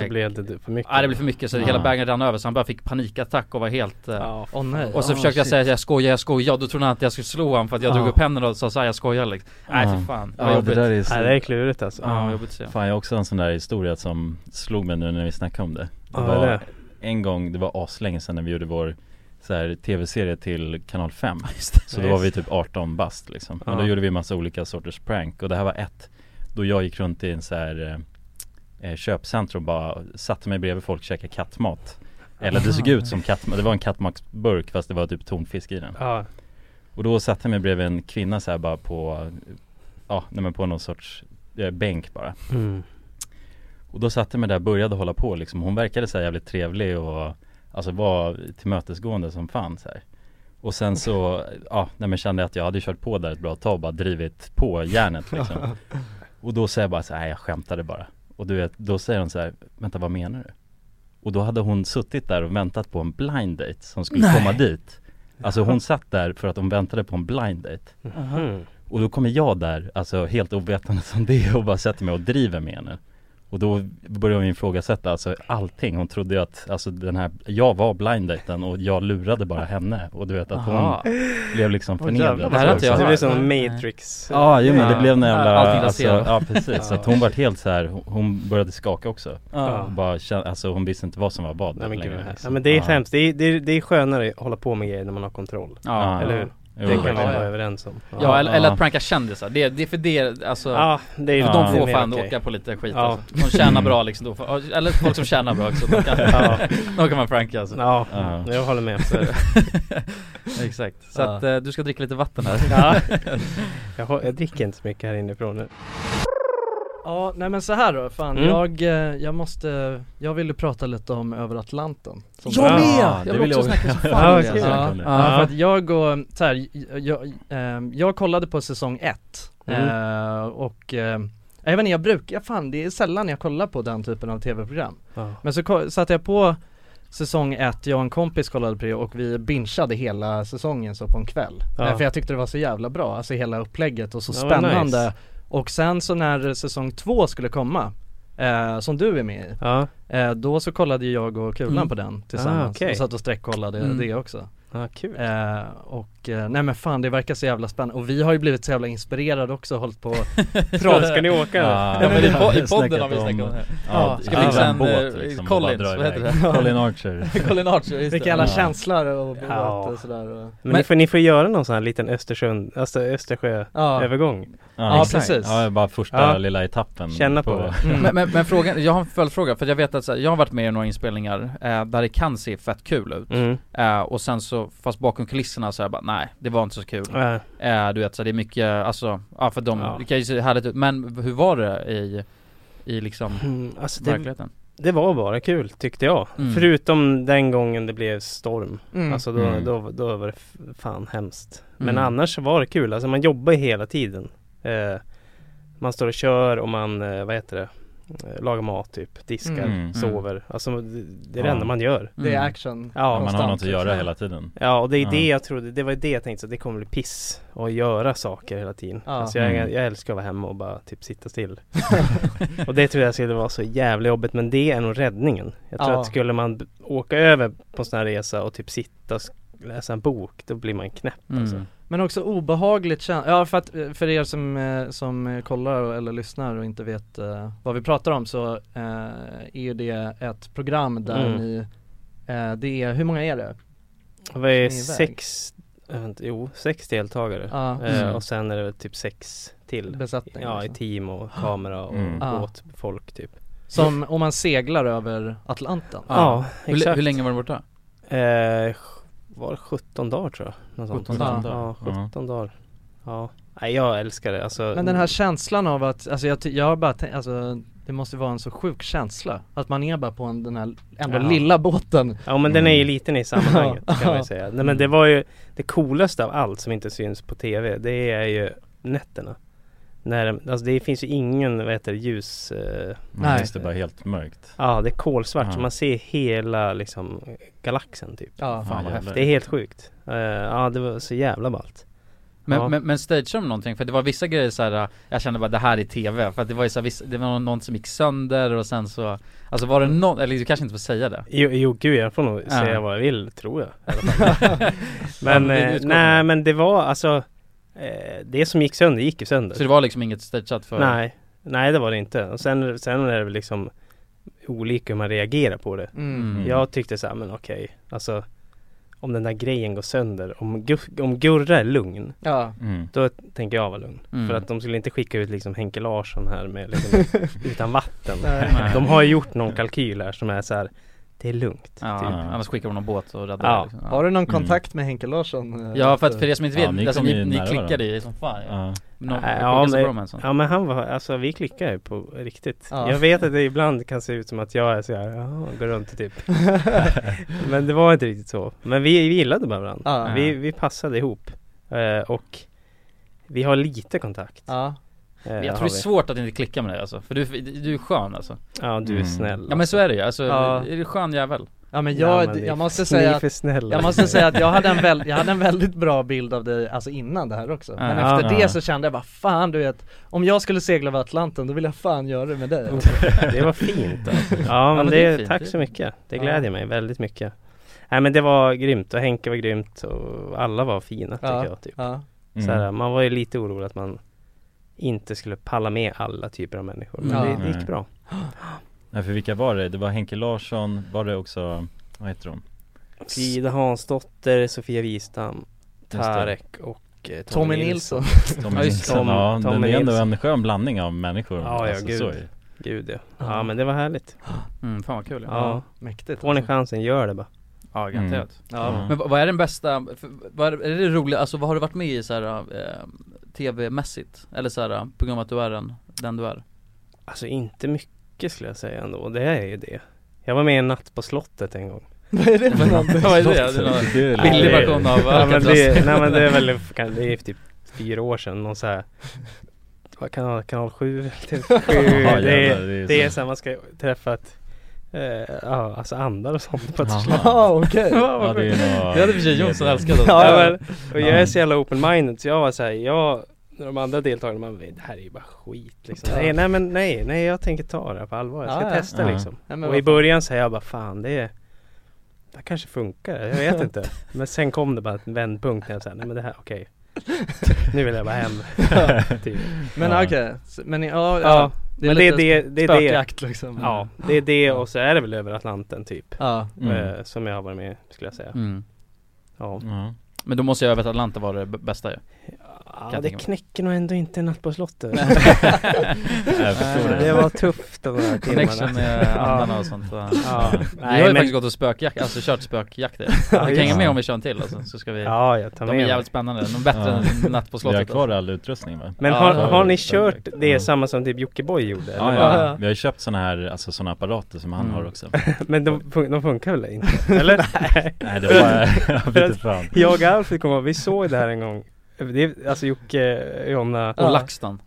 Speaker 2: Då blev det för mycket.
Speaker 1: Ja det blev för mycket så
Speaker 4: Ja.
Speaker 1: hela bagen rann över så han bara fick panikattack och var helt eh,
Speaker 2: Ja, f-
Speaker 6: Åh nej
Speaker 1: Och så
Speaker 6: Ah,
Speaker 1: försökte jag
Speaker 6: shit.
Speaker 1: säga jag skojar, jag skojar, då trodde han att jag skulle slå honom för att jag
Speaker 2: Ja.
Speaker 1: drog upp händerna och sa såhär jag skojar liksom Nej
Speaker 4: Ja.
Speaker 1: för fan, det var
Speaker 4: Ja det
Speaker 1: jobbigt
Speaker 4: där är så...
Speaker 2: nej, det är klurigt alltså.
Speaker 1: Ja, vad jobbigt att se
Speaker 4: Fan jag har också en sån där historia som slog mig nu när vi snackade om det Det
Speaker 2: Ja,
Speaker 4: var
Speaker 2: eller?
Speaker 4: en gång, det var aslänge sedan när vi gjorde vår så här, tv-serie till kanal 5 Så då
Speaker 2: Ja,
Speaker 4: var
Speaker 2: just
Speaker 4: vi typ 18 bast liksom Men då
Speaker 2: Ja.
Speaker 4: gjorde vi massa olika sorters prank och det här var ett Då jag gick runt i en så här eh, eh, köpcentrum och bara satte mig bredvid folk och käkade kattmat Eller det såg ut som kattmat, det var en kattmatsburk fast det var typ tonfisk i den
Speaker 2: Ja,
Speaker 4: och då satte jag mig bredvid en kvinna så här bara på, ja nej men på någon sorts eh, bänk bara
Speaker 2: mm.
Speaker 4: Och då satte jag mig där och började hålla på liksom Hon verkade så här jävligt trevlig och Alltså var tillmötesgående som fan så här. Och sen så, ja nej men kände jag att jag hade kört på där ett bra tag och bara drivit på järnet liksom Och då säger jag bara så här, nej jag skämtade bara Och du vet, då säger hon så här, vänta vad menar du? Och då hade hon suttit där och väntat på en blind date som skulle komma dit Alltså hon satt där för att hon väntade på en blind date
Speaker 2: Mm.
Speaker 4: och då kommer jag där, alltså helt ovetande som det är och bara sätter mig och driver med henne Och då börjar hon ifrågasätta alltså allting, hon trodde ju att, alltså den här, jag var blind daten och jag lurade bara henne och du vet att hon
Speaker 1: Aha. Ah.
Speaker 4: blev liksom
Speaker 6: Åh, jävlar,
Speaker 4: förnedrad
Speaker 1: det här har inte
Speaker 2: Det
Speaker 1: jag hört.
Speaker 2: blir som Matrix.
Speaker 4: Ja, jo men det blev en jävla,
Speaker 1: Allting
Speaker 4: alltså,
Speaker 1: raserat.
Speaker 4: ja precis, så att hon vart helt så här, hon- hon började skaka också
Speaker 2: Ja.
Speaker 4: och bara kände, alltså hon visste inte vad som var vad
Speaker 2: Nej men gud vad
Speaker 4: längre,
Speaker 2: hemskt.
Speaker 4: liksom.
Speaker 2: Ja men det är
Speaker 4: Ja.
Speaker 2: hemskt, det är, det, är, det är skönare att hålla på med grejer när man har kontroll.
Speaker 1: Ja,
Speaker 4: Ja.
Speaker 2: Eller hur?
Speaker 4: Jo,
Speaker 2: det kan vi
Speaker 1: ja,
Speaker 2: vara
Speaker 1: ja.
Speaker 2: överens om.
Speaker 1: ja, eller, eller att pranka kändisar, det, det är för det, alltså
Speaker 2: Ja, det är ju
Speaker 1: För
Speaker 4: Ja.
Speaker 1: de får
Speaker 2: Ah. det är
Speaker 1: fan
Speaker 2: mer okej.
Speaker 1: åka på lite skit
Speaker 2: Ja.
Speaker 1: alltså. De tjänar bra liksom då, får- eller folk som tjänar bra också, de kan,
Speaker 2: Ja.
Speaker 1: de kan man pranka alltså
Speaker 2: Ja,
Speaker 4: Ja.
Speaker 2: jag håller med. Så är det.
Speaker 1: Exakt,
Speaker 2: Ah.
Speaker 1: så
Speaker 6: Ja.
Speaker 1: att eh, du ska dricka lite vatten här
Speaker 2: Ja. Jag, hå- jag dricker inte så mycket här inifrån nu.
Speaker 6: Ja nej men så här då, fan
Speaker 2: Mm.
Speaker 6: jag, eh, jag måste, jag ville prata lite om över Atlanten Som
Speaker 1: Jag
Speaker 2: Ja,
Speaker 1: med!
Speaker 4: det
Speaker 1: Jag vill
Speaker 4: vill
Speaker 1: också
Speaker 4: jag-
Speaker 1: snacka så fan
Speaker 2: Ja,
Speaker 1: om det,
Speaker 2: okej.
Speaker 1: alltså.
Speaker 4: Ja.
Speaker 6: Ja,
Speaker 4: Ja.
Speaker 6: ja, för att jag går, så här, jag, jag, jag kollade på säsong ett
Speaker 2: Mm.
Speaker 6: eh, och eh, jag vet inte, jag brukar, fan det är sällan jag kollar på den typen av tv-program
Speaker 2: Ja.
Speaker 6: Men så ko- satte jag på säsong ett, jag och en kompis kollade på det och vi bingeade hela säsongen så på en kväll
Speaker 2: Ja.
Speaker 6: Eh, För jag tyckte det var så jävla bra, alltså hela upplägget och så
Speaker 2: Ja, vad nice.
Speaker 6: spännande Och sen så när säsong två skulle komma, eh, som du är med i
Speaker 2: Ja,
Speaker 6: eh, Då så kollade ju jag och Kulan
Speaker 1: Mm.
Speaker 6: på den tillsammans
Speaker 2: Ah, okej.
Speaker 6: och satt och streckkollade
Speaker 1: Mm.
Speaker 6: det också
Speaker 2: ja kul.
Speaker 6: Eh, och eh, nej men fan det verkar så jävla spännande och vi har ju blivit så jävla inspirerade också och hållit på
Speaker 2: Bra, ska ni åka?
Speaker 4: Ja.
Speaker 1: Ja, men i, po- i podden
Speaker 4: Snackat
Speaker 1: har vi snackat om det här
Speaker 4: Ja,
Speaker 1: Ska
Speaker 4: det
Speaker 1: vi
Speaker 4: är
Speaker 1: fixa
Speaker 4: en
Speaker 1: en,
Speaker 4: båt
Speaker 1: eh,
Speaker 4: liksom, och
Speaker 1: Collins,
Speaker 4: bara dra
Speaker 1: vad heter
Speaker 4: iväg.
Speaker 1: det?
Speaker 4: Colin Archer
Speaker 1: Colin Archer, just
Speaker 6: Vilka
Speaker 1: det.
Speaker 6: jävla
Speaker 4: Ja.
Speaker 6: känslor och båt
Speaker 2: Ja.
Speaker 6: och sådär och,
Speaker 2: Men, ni, får, ni får göra någon sån här liten Östersund, alltså Östersjöövergång.
Speaker 6: Ja,
Speaker 4: Ja,
Speaker 6: exakt. precis.
Speaker 4: Ja, bara första
Speaker 2: Ja.
Speaker 4: lilla etappen
Speaker 2: Känna på det.
Speaker 6: Mm.
Speaker 1: Men, men, men frågan, jag har en följdfråga, för jag vet att så här, jag har varit med i några inspelningar eh, där det kan se fett kul ut
Speaker 2: Mm.
Speaker 1: eh, Och sen så, fast bakom kulisserna så är jag bara nej, det var inte så kul
Speaker 2: Ja.
Speaker 1: eh, Du vet så här, det är mycket, alltså, ja för de,
Speaker 2: Ja.
Speaker 1: det kan ju se härligt ut, men hur var det i, i liksom
Speaker 2: Mm, alltså det,
Speaker 1: verkligheten?
Speaker 2: det var bara kul tyckte jag.
Speaker 1: Mm.
Speaker 2: Förutom den gången det blev storm.
Speaker 6: mm.
Speaker 2: Alltså då,
Speaker 4: Mm.
Speaker 2: då, då var det f- fan hemskt. Men
Speaker 1: Mm.
Speaker 2: annars så var det kul. Alltså man jobbar ju hela tiden. Eh, man står och kör och man, eh, vad heter det, eh, lagar mat typ, diskar,
Speaker 4: Mm. Mm.
Speaker 2: sover. Alltså det, det är det
Speaker 4: Ja.
Speaker 2: enda man gör.
Speaker 6: det är
Speaker 1: Mm.
Speaker 6: action
Speaker 2: Ja,
Speaker 4: man har
Speaker 6: konstant, liksom.
Speaker 4: något att göra hela tiden
Speaker 2: Ja och det är det
Speaker 4: Ja.
Speaker 2: jag trodde, det var det jag tänkte så att det kommer bli piss att göra saker hela tiden.
Speaker 6: Ja.
Speaker 2: Alltså jag,
Speaker 4: Mm.
Speaker 2: jag älskar att vara hemma och bara typ sitta still. och det tror jag skulle vara så jävla jobbigt men det är nog räddningen. Jag tror
Speaker 6: Ja.
Speaker 2: att skulle man b- åka över på en sån här resa och typ sitta och sk- läsa en bok, då blir man knäpp alltså.
Speaker 1: Mm.
Speaker 6: Men också obehagligt känsla, ja för att för er som, eh, som eh, kollar och- eller lyssnar och inte vet eh, vad vi pratar om så eh, är ju det ett program där
Speaker 2: Mm.
Speaker 6: ni eh, Det är, hur många är det?
Speaker 2: Vad är
Speaker 6: Som är iväg.
Speaker 2: sex, jag vet inte, jo, sex deltagare.
Speaker 6: Ja,
Speaker 2: Eh,
Speaker 1: Mm.
Speaker 2: och sen är det väl typ sex till.
Speaker 6: besättning
Speaker 2: Ja, i
Speaker 6: liksom.
Speaker 2: team och kamera och
Speaker 4: Mm.
Speaker 6: Ja.
Speaker 2: båtfolk typ.
Speaker 6: Som om man seglar över Atlanten
Speaker 1: Ja.
Speaker 2: Ja,
Speaker 1: Hur, li-
Speaker 2: exakt.
Speaker 1: hur länge var du borta?
Speaker 2: Eh, var det 17 dagar tror jag. Något sånt.
Speaker 1: 17
Speaker 6: dagar.
Speaker 2: Ja,
Speaker 4: Ja.
Speaker 2: 17 dagar. Ja. Nej, jag älskar det.
Speaker 1: mm.
Speaker 2: Alltså,
Speaker 6: Men den här känslan av att, alltså jag, ty- jag har bara tänkt, alltså det måste vara en så sjuk känsla Att man är bara på en, den här ändå
Speaker 2: Ja.
Speaker 6: lilla båten
Speaker 2: Ja men den är
Speaker 4: Mm.
Speaker 2: ju liten i sammanhanget kan man ju
Speaker 6: Ja.
Speaker 2: säga. Nej men det var ju det coolaste av allt som inte syns på TV. Det är ju nätterna. När, alltså det finns ju ingen, vad heter det, ljus... eh,
Speaker 6: Nej.
Speaker 4: Just det, bara helt mörkt
Speaker 2: Ja, det är kolsvart
Speaker 4: Ja.
Speaker 2: så man ser hela liksom galaxen typ.
Speaker 6: Ja,
Speaker 1: Fan, vad
Speaker 4: jävlar.
Speaker 2: Det är helt sjukt. Eh, ja, det var så jävla ballt.
Speaker 1: Men,
Speaker 2: Ja.
Speaker 1: men, men stageade de någonting? För det var vissa grejer så här. eh, jag kände bara det här är TV, för att det var ju så här, vissa, det var någon som gick sönder och sen så Alltså var det någon, eller du kanske inte får säga det?
Speaker 2: Jo, jo gud jag får nog
Speaker 1: Ja.
Speaker 2: säga vad jag vill tror jag i alla fall. Men
Speaker 1: Ja, men det-
Speaker 2: eh,
Speaker 1: du ska-
Speaker 2: nej men det var alltså eh, Det som gick sönder gick ju sönder
Speaker 1: Så det var liksom inget stageat för?
Speaker 2: Nej Nej det var det inte och sen, sen är det väl liksom Olika hur man reagerar på det
Speaker 1: Mm.
Speaker 2: Jag tyckte så här, men okej Alltså Om den där grejen går sönder Om, Gu- om Gurra är lugn
Speaker 6: Ja,
Speaker 4: Mm.
Speaker 2: Då tänker jag vara lugn
Speaker 1: Mm.
Speaker 2: För att de skulle inte skicka ut liksom Henke Larsson här med liksom, Utan vatten
Speaker 1: Nej.
Speaker 2: De har ju gjort någon kalkyl här som är så här Det är lugnt
Speaker 1: ja,
Speaker 2: typ.
Speaker 1: annars skickar de någon båt och räddar
Speaker 2: Ja.
Speaker 1: det, liksom. ja.
Speaker 6: har du någon kontakt med Henke Larsson? eh,
Speaker 1: Ja för att för er som inte vet,
Speaker 4: Ja, ni
Speaker 1: alltså,
Speaker 4: kom ju
Speaker 1: ni, ni
Speaker 4: nära
Speaker 1: klickade
Speaker 4: varandra.
Speaker 1: ju som fan ja.
Speaker 4: Ja.
Speaker 1: Någon,
Speaker 2: Nej,
Speaker 1: jag
Speaker 2: ja,
Speaker 1: skickade så
Speaker 2: men-
Speaker 1: bra med en sån.
Speaker 2: Ja men han var, alltså vi klickar ju på riktigt
Speaker 6: Ja.
Speaker 2: Jag vet att det ibland kan se ut som att jag är så här, ja, går runt och typ Men det var inte riktigt så Men vi, vi gillade bara varandra
Speaker 6: Ja.
Speaker 2: vi, vi passade ihop eh, Och vi har lite kontakt
Speaker 6: Ja,
Speaker 2: eh,
Speaker 1: Men Jag
Speaker 2: har
Speaker 1: tror det är
Speaker 2: vi.
Speaker 1: svårt att inte klicka med dig alltså, för du, du är skön alltså
Speaker 2: Ja du är
Speaker 4: Mm.
Speaker 2: snäll
Speaker 1: Ja men så är det ju, alltså,
Speaker 6: Ja.
Speaker 1: är du skön jävel?
Speaker 6: ja men jag,
Speaker 2: men ni-
Speaker 6: jag måste
Speaker 2: Ni
Speaker 6: säga
Speaker 2: är
Speaker 6: att
Speaker 2: för snälla
Speaker 6: jag måste säga att jag hade, en väl, jag hade en väldigt bra bild av dig, alltså innan det här också Men
Speaker 1: Ja.
Speaker 6: efter
Speaker 4: Ja.
Speaker 6: det så kände jag bara fan du vet Om jag skulle segla över Atlanten då vill jag fan göra det med dig
Speaker 2: Mm. Det var fint alltså. Ja men
Speaker 1: men
Speaker 2: det,
Speaker 1: det är fint.
Speaker 2: tack så mycket Det glädjer mig väldigt mycket Nej men det var grymt och Henke var grymt och alla var fina
Speaker 6: Ja.
Speaker 2: tycker jag typ
Speaker 6: Ja,
Speaker 4: Mm.
Speaker 2: Så här, man var ju lite orolig att man inte skulle palla med alla typer av människor. Men
Speaker 6: Ja.
Speaker 2: det, det
Speaker 4: Nej.
Speaker 2: gick bra.
Speaker 4: Nej, för vilka var det? Det var Henke Larsson, var det också, vad heter de?
Speaker 2: Frida Hansdotter, Sofia Wistam,
Speaker 4: det.
Speaker 2: Tarek och eh,
Speaker 6: Tommy Nilsson
Speaker 4: Tommy
Speaker 1: Ja, just
Speaker 4: Nilsson.
Speaker 2: Tom-
Speaker 4: ja,
Speaker 2: Tommy
Speaker 4: det är ändå
Speaker 2: Nilsson.
Speaker 4: en skön blandning av människor Alltså,
Speaker 2: Ja, ja, gud.
Speaker 4: så är det.
Speaker 2: Gud ja. Ja men det var härligt.
Speaker 1: Mm, fan vad kul
Speaker 2: Ja.
Speaker 6: mäktigt
Speaker 2: Får ni chansen, gör det bara.
Speaker 1: Ja, garanterat
Speaker 4: Ja.
Speaker 1: Men vad vad är den bästa, för- vad är, är det roliga, alltså vad har du varit med i så här, eh, tv-mässigt? Eller så här, eh, på grund av att du är den, den du är?
Speaker 2: Alltså inte mycket skulle jag säga ändå. Det är ju det. Jag var med i en natt på slottet en gång.
Speaker 6: Vad är det för något?
Speaker 1: Vad är det? Det är någon
Speaker 4: Du är
Speaker 2: Nej,
Speaker 1: billig
Speaker 2: det-
Speaker 1: version av
Speaker 2: Ja, men
Speaker 1: Alcatraz
Speaker 2: det, nej men det är väl, kan- det är typ fyra år sedan. Någon så här, vad kanal, kanal 7? Typ, sju.
Speaker 4: Ja,
Speaker 2: det, är-
Speaker 4: jävlar,
Speaker 2: Det är
Speaker 4: så-
Speaker 2: så här, man ska träffa ett, eh, ja, alltså andar och sånt på ett
Speaker 4: Jaha.
Speaker 2: slag.
Speaker 6: Ja okej
Speaker 4: Ja, det är nog...
Speaker 1: Det hade i och för sig Jonsson älskat alltså.
Speaker 2: Ja, men, och jag är så jävla open-minded så jag var såhär, jag, när de andra deltagarna, man bara, det här är ju bara skit liksom.
Speaker 6: Ja.
Speaker 2: Nej, nej men nej, nej jag tänker ta det här på allvar, jag ska
Speaker 6: Ja, ja.
Speaker 2: testa
Speaker 4: Ja.
Speaker 2: liksom.
Speaker 6: Ja, men
Speaker 2: och i
Speaker 6: vad fan.
Speaker 2: början så här, jag bara, fan det är det här kanske funkar, jag vet inte. Men sen kom det bara en vändpunkt när jag sa, nej men det här, okej. Nu vill jag bara hem. typ.
Speaker 6: Men okej, Så- men
Speaker 2: Ja,
Speaker 6: ja, ja
Speaker 2: det men det är
Speaker 6: lite
Speaker 2: det, det är det.
Speaker 6: spökjakt liksom
Speaker 2: Ja, det är det och så är det väl över Atlanten typ.
Speaker 6: Ja,
Speaker 4: Mm.
Speaker 2: eh, Som jag har varit med skulle jag säga.
Speaker 1: mm.
Speaker 2: Ja.
Speaker 4: Ja.
Speaker 1: Men då måste jag över till Atlanta var det b- bästa ju
Speaker 2: Ja,
Speaker 1: jag
Speaker 2: det
Speaker 1: tänka mig.
Speaker 2: knäcker nog ändå inte en natt på slottet.
Speaker 4: Jag förstår
Speaker 2: Nej,
Speaker 4: det.
Speaker 2: det var tufft de där
Speaker 1: Connection
Speaker 2: timmarna.
Speaker 1: med andarna och sånt va?
Speaker 2: Ja,
Speaker 1: Vi har ju
Speaker 2: nej, men,
Speaker 1: faktiskt gått och spökjakt, alltså kört spökjakt ja,
Speaker 2: Ja,
Speaker 1: Du kan hänga
Speaker 4: just det.
Speaker 1: med om vi kör en till alltså, så ska vi
Speaker 2: ja, jag tar
Speaker 1: De är
Speaker 2: med mig.
Speaker 1: jävligt spännande, de är bättre
Speaker 4: Ja.
Speaker 1: än Natt
Speaker 4: Vi har
Speaker 1: på slottet alltså.
Speaker 4: kvar all utrustning va?
Speaker 2: Men
Speaker 1: Ja,
Speaker 2: har,
Speaker 1: det har
Speaker 2: har
Speaker 4: vi.
Speaker 2: ni kört det
Speaker 4: Ja.
Speaker 2: samma som typ Jockiboi gjorde?
Speaker 4: Ja,
Speaker 2: eller?
Speaker 4: ja.
Speaker 6: Ja.
Speaker 4: Vi har ju köpt såna här, alltså såna apparater som han
Speaker 1: Mm.
Speaker 4: har också
Speaker 2: Men de, fun- de funkar väl inte? Eller? nej.
Speaker 4: Nej det var, jag vet inte fan
Speaker 2: Jag och Alfred kommer ihåg, vi såg det här en gång. Det, är- alltså Jocke, Jonna.
Speaker 1: Och LaxTon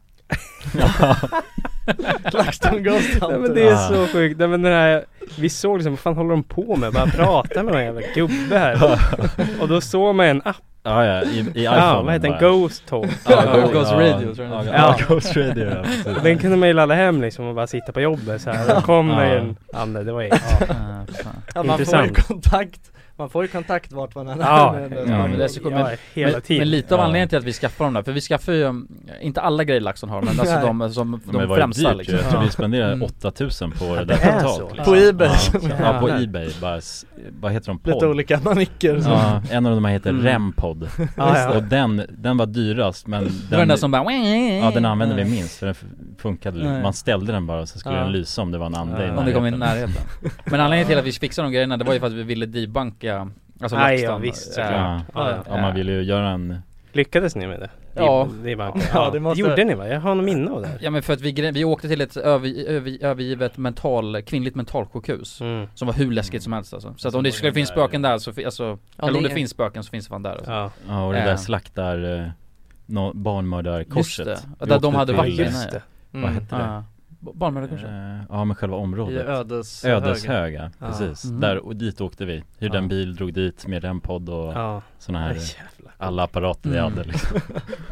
Speaker 6: LaxTon Ghost
Speaker 2: Nej men
Speaker 6: Hunter
Speaker 2: det är
Speaker 4: Ja.
Speaker 2: så sjukt, nej men den här Vi såg liksom, vad fan håller de på med? Bara prata med någon jävla gubbe här Och då såg man en app,
Speaker 4: Ja ja, i, i iPhone
Speaker 2: ja, vad heter den? Ghost Talk
Speaker 1: Ja,
Speaker 2: Ja.
Speaker 1: Ghost Radio, tror jag
Speaker 4: jag
Speaker 1: den
Speaker 4: Ja,
Speaker 2: heter.
Speaker 4: Ghost Radio ja, precis.
Speaker 2: Den kunde man ju ladda hem liksom och bara sitta på jobbet så här. Då kom
Speaker 4: Ja.
Speaker 2: det en, ja men det var ju, ja.
Speaker 1: Ah, fan.
Speaker 6: ja, man får ju
Speaker 2: Intressant.
Speaker 6: kontakt, man får ju kontakt vart man än är
Speaker 2: Ja,
Speaker 6: med-
Speaker 4: ja,
Speaker 1: men det är så coolt, men-
Speaker 2: ja, hela
Speaker 1: men,
Speaker 2: tiden
Speaker 1: Men lite av
Speaker 4: Ja.
Speaker 1: anledningen till att vi skaffar dem där, för vi skaffar ju, mm, inte alla grejer LaxTon har men alltså
Speaker 6: Nej.
Speaker 1: de som,
Speaker 4: Men det
Speaker 1: de
Speaker 4: var ju
Speaker 1: främsta
Speaker 4: dyrt
Speaker 1: liksom
Speaker 4: ju. jag tror vi
Speaker 1: Mm.
Speaker 4: spenderade 8000 på det där
Speaker 2: det är
Speaker 4: ett
Speaker 2: så.
Speaker 4: tag liksom.
Speaker 6: På Ebay.
Speaker 4: Ja, ja på
Speaker 2: Jävlar.
Speaker 4: Ebay, bara, s- vad heter de?
Speaker 6: Lite
Speaker 4: Podd?
Speaker 6: olika manicker så.
Speaker 4: Ja, en av dem här heter
Speaker 1: Mm.
Speaker 4: Rempod
Speaker 2: ja, ja.
Speaker 4: Och den, den var dyrast men
Speaker 1: Det var den där
Speaker 4: den,
Speaker 1: som bara
Speaker 4: Ja den använde vi minst för den f- funkade,
Speaker 1: Nej.
Speaker 4: man ställde den bara så skulle
Speaker 6: Ja.
Speaker 4: den lysa om det var en ande i
Speaker 2: Ja.
Speaker 1: Mm. Om det kom i
Speaker 4: närheten.
Speaker 1: närheten Men anledningen till att vi fixade de grejerna, det var ju för att vi ville debanka Alltså
Speaker 2: Nej,
Speaker 1: LaxTon
Speaker 2: ja, visst,
Speaker 1: eh,
Speaker 4: ja.
Speaker 2: Ja, ja.
Speaker 4: ja man vill ju göra en
Speaker 2: Lyckades ni med det?
Speaker 1: Ja.
Speaker 2: det, är bara,
Speaker 6: Ja,
Speaker 2: ja,
Speaker 6: det
Speaker 2: det,
Speaker 6: måste-
Speaker 2: gjorde ni va? Jag har något minne av det här.
Speaker 1: Ja men för att vi, gre- vi åkte till ett över, över, övergivet mental, kvinnligt mentalsjukhus
Speaker 2: Mm.
Speaker 1: Som var hur läskigt som helst alltså. Så att om det
Speaker 4: var
Speaker 1: skulle
Speaker 4: den
Speaker 1: finnas
Speaker 4: där,
Speaker 1: spöken där så, fi- alltså,
Speaker 6: Ja,
Speaker 1: eller om
Speaker 6: det
Speaker 1: det
Speaker 6: är-
Speaker 1: finns spöken så finns det fan där alltså.
Speaker 2: Ja,
Speaker 4: Ja och det
Speaker 1: Ja.
Speaker 4: där slaktar eh, nå- barnmördarkorset
Speaker 1: Just det.
Speaker 4: Vi
Speaker 1: Där de
Speaker 4: åkte
Speaker 1: hade
Speaker 4: till,
Speaker 1: vakter.
Speaker 4: eh,
Speaker 2: just det.
Speaker 4: Vad hette det?
Speaker 1: Ja. Barnmördare kanske?
Speaker 4: Eh, Ja men själva
Speaker 6: Mm. I
Speaker 4: området
Speaker 6: ödes
Speaker 4: Ödeshög ja,
Speaker 6: Ja.
Speaker 4: precis.
Speaker 1: Mm.
Speaker 4: Där, och dit åkte vi. Hyrde en
Speaker 6: Ja.
Speaker 4: bil, drog dit med en podd och
Speaker 2: Ja,
Speaker 4: såna
Speaker 2: Nej,
Speaker 4: här,
Speaker 2: jävlar.
Speaker 4: alla apparater vi
Speaker 1: Mm.
Speaker 4: hade liksom.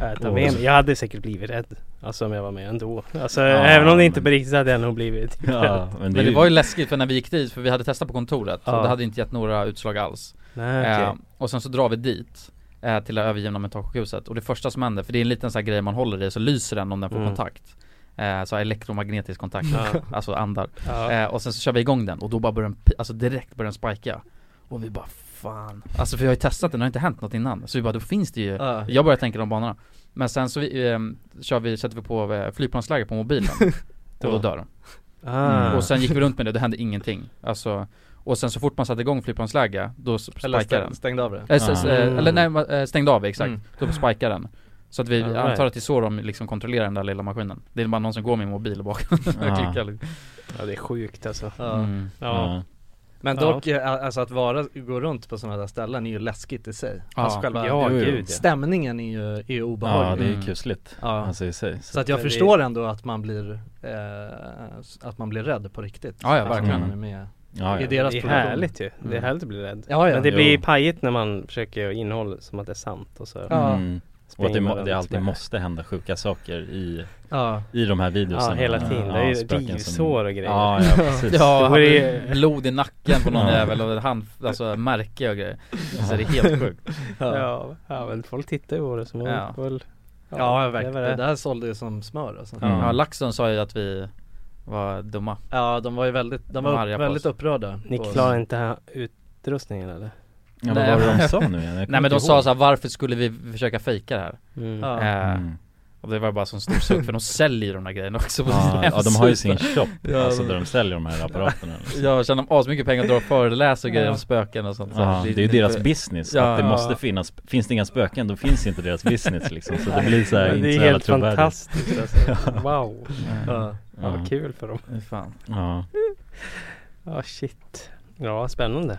Speaker 2: Jag, tar med mig. jag hade säkert blivit rädd. Alltså om jag var med ändå. Alltså
Speaker 4: Ja,
Speaker 2: även om det inte
Speaker 4: men-
Speaker 2: på riktigt hade jag nog blivit
Speaker 4: Ja, men det,
Speaker 1: Men
Speaker 4: är
Speaker 1: det
Speaker 4: ju-
Speaker 1: var ju läskigt för när vi gick dit, för vi hade testat på kontoret
Speaker 2: Ja.
Speaker 1: och det hade inte gett några utslag alls
Speaker 2: Nej okej.
Speaker 1: eh, Och sen så drar vi dit eh, till det övergivna mentalsjukhuset och det första som händer, för det är en liten sån här grej man håller i så lyser den om den får
Speaker 2: Mm.
Speaker 1: kontakt eh, Så här elektromagnetisk kontakt,
Speaker 2: Ja.
Speaker 1: alltså andar
Speaker 2: Ja.
Speaker 1: eh, Och sen så kör vi igång den och då bara börjar den, pi- alltså direkt börjar den spika Och vi bara fan Alltså för vi har ju testat den, det har inte hänt något innan Så vi bara, då finns det ju
Speaker 6: Ja.
Speaker 1: Jag började tänka de banorna Men sen så vi, ehm, kör vi, sätter vi på eh, flygplansläge på mobilen Och då dör de
Speaker 2: Ah.
Speaker 4: Mm.
Speaker 1: och sen gick vi runt med det, det hände ingenting. Alltså, och sen så fort man satte igång flygplansläge, då s-
Speaker 6: Eller
Speaker 1: spikade den.
Speaker 6: stäng, stängde av det
Speaker 1: Eh, s- s- eh,
Speaker 2: Ah.
Speaker 1: Eller nej, man, eh, stängde av exakt.
Speaker 6: Mm.
Speaker 1: Då spikade den. Så att vi
Speaker 2: All right.
Speaker 1: antar att det är så de liksom kontrollerar den där lilla maskinen. Det är bara någon som går med en mobil och bara
Speaker 4: Ja.
Speaker 1: klickar liksom.
Speaker 2: Ja det är sjukt alltså.
Speaker 6: Ja.
Speaker 1: mm.
Speaker 2: Ah. Ja.
Speaker 4: ja.
Speaker 6: Men
Speaker 2: Ja.
Speaker 6: dock, eh, alltså att vara, gå runt på sådana där ställen är ju läskigt i sig
Speaker 1: Ja.
Speaker 6: Alltså själva
Speaker 2: Ja,
Speaker 4: jo, jo.
Speaker 2: gud ja.
Speaker 6: stämningen är ju, är ju
Speaker 4: ja,
Speaker 6: obehaglig
Speaker 4: det är
Speaker 1: Mm.
Speaker 4: kusligt.
Speaker 6: Ja.
Speaker 4: Alltså i sig.
Speaker 6: Så att jag
Speaker 2: Men det-
Speaker 6: förstår ändå att man blir, eh, s- att man blir rädd på riktigt
Speaker 1: Ja, ja,
Speaker 6: Alltså,
Speaker 1: verkligen.
Speaker 6: när man är med
Speaker 4: ja,
Speaker 6: i
Speaker 4: ja.
Speaker 6: deras
Speaker 2: Det är
Speaker 6: produktion.
Speaker 2: härligt ju. Det är
Speaker 1: Mm.
Speaker 2: härligt att bli rädd.
Speaker 6: Ja, ja.
Speaker 2: Men det
Speaker 4: Jo.
Speaker 2: blir pajigt när man försöker innehålla som att det är sant och så
Speaker 6: Ja.
Speaker 4: Mm. Och att det, må, det alltid måste hända sjuka saker i,
Speaker 6: Ja,
Speaker 4: i de här videorna.
Speaker 2: Ja hela tiden. Det är ju rivsår och grejer.
Speaker 4: Ja, ja precis.
Speaker 1: Ja,
Speaker 2: Det
Speaker 1: hade
Speaker 2: vore ju-
Speaker 1: blod i nacken på någon
Speaker 4: Ja.
Speaker 1: jävel och hand, alltså märke och grejer. Så det är helt sjukt.
Speaker 6: ja. ja.
Speaker 2: Ja, ja men folk tittar ju på det som om
Speaker 1: Ja.
Speaker 2: det väl
Speaker 6: ja
Speaker 2: det är
Speaker 6: verkligen.
Speaker 2: väl
Speaker 6: Det
Speaker 2: det.
Speaker 6: där sålde ju som smör alltså.
Speaker 4: Mm.
Speaker 1: Ja, LaxTon sa ju att vi var dumma.
Speaker 6: Ja, de var ju väldigt, de
Speaker 1: De
Speaker 6: var
Speaker 1: arga på
Speaker 6: väldigt
Speaker 1: oss.
Speaker 6: upprörda
Speaker 2: Ni
Speaker 6: på oss.
Speaker 2: klarar inte här utrustningen eller?
Speaker 4: Ja, vad var det de sa nu igen? Jag kommer
Speaker 1: Nej men de
Speaker 4: inte
Speaker 1: sa
Speaker 4: ihåg.
Speaker 1: såhär, varför skulle vi försöka fejka det här?
Speaker 2: Mm.
Speaker 6: Ja.
Speaker 1: Eh,
Speaker 4: Mm.
Speaker 1: Och det var bara sån stor suck för de säljer ju de där grejerna också på sin
Speaker 4: Ja, ja, de har ju sin
Speaker 1: hemsida.
Speaker 4: shop,
Speaker 1: Ja,
Speaker 4: alltså
Speaker 1: de-
Speaker 4: där de säljer de här apparaterna. liksom.
Speaker 1: Jag tjänar asmycket pengar och drar och föreläser grejer
Speaker 2: Ja.
Speaker 1: om spöken och sånt så
Speaker 4: Ja,
Speaker 1: här.
Speaker 4: det är ju deras business,
Speaker 1: Ja.
Speaker 4: att det måste finnas, finns det inga spöken då finns inte deras business liksom Så det blir så här,
Speaker 2: Men
Speaker 4: inte
Speaker 2: det
Speaker 4: så
Speaker 2: är
Speaker 4: jävla
Speaker 2: helt
Speaker 4: trovärdigt
Speaker 2: fantastiskt alltså. Wow,
Speaker 6: Ja.
Speaker 2: ja, vad kul för dem.
Speaker 1: Fy Fan.
Speaker 4: Ja,
Speaker 2: Ja shit. Ja spännande.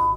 Speaker 7: a-"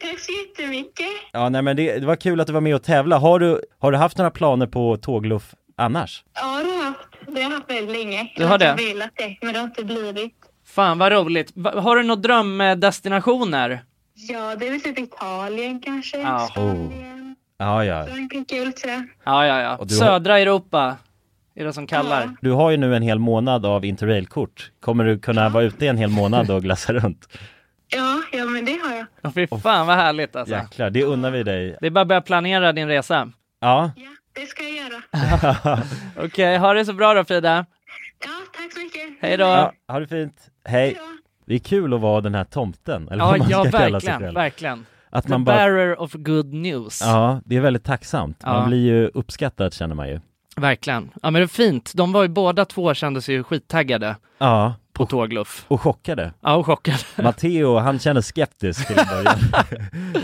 Speaker 8: tack så jättemycket.
Speaker 4: Ja, nej men det, det var kul att du var med och tävla. Har du, har du haft några planer på tågluff annars?
Speaker 8: Ja, det har jag haft. Det har jag haft väldigt länge.
Speaker 3: Du har det?
Speaker 8: Jag har velat det, men det har inte blivit.
Speaker 3: Fan vad roligt. Va- Har du några drömdestinationer?
Speaker 8: Ja, det är väl typ Italien kanske.
Speaker 3: Ja.
Speaker 8: Spanien.
Speaker 4: Ja, ja.
Speaker 8: Frankrike, tror jag.
Speaker 3: Ja, ja, ja.
Speaker 4: Och du har-
Speaker 3: Södra Europa är det som kallar.
Speaker 8: Ja.
Speaker 4: Du har ju nu en hel månad av interrailkort. Kommer du kunna vara ute en hel månad och glassa runt?
Speaker 8: Ja, ja, men det har jag.
Speaker 3: Åh, Fy fan vad härligt alltså.
Speaker 4: Jäklar, det unnar vi dig.
Speaker 3: Det är bara att börja planera din resa.
Speaker 4: Ja,
Speaker 8: Ja, det ska jag göra.
Speaker 3: Okej, ha det så bra då Frida.
Speaker 8: Ja, tack så mycket.
Speaker 3: Hej då.
Speaker 4: ja
Speaker 3: Ja,
Speaker 4: ha det fint. Hej. Det är kul att vara den här tomten, eller vad
Speaker 3: ja,
Speaker 4: man ska kalla sig
Speaker 3: verkligen,
Speaker 4: själv.
Speaker 3: verkligen.
Speaker 4: Att
Speaker 3: The
Speaker 4: man bara...
Speaker 3: bearer of good news.
Speaker 4: Ja, det är väldigt tacksamt. Man
Speaker 3: Ja.
Speaker 4: blir ju uppskattad känner man ju.
Speaker 3: Verkligen. Ja men det är fint. De var ju båda två kände sig ju skittaggade
Speaker 4: Ja,
Speaker 3: på tågluff.
Speaker 4: och chockade.
Speaker 3: Ja och chockade.
Speaker 4: Matteo, han känner skeptisk till en början.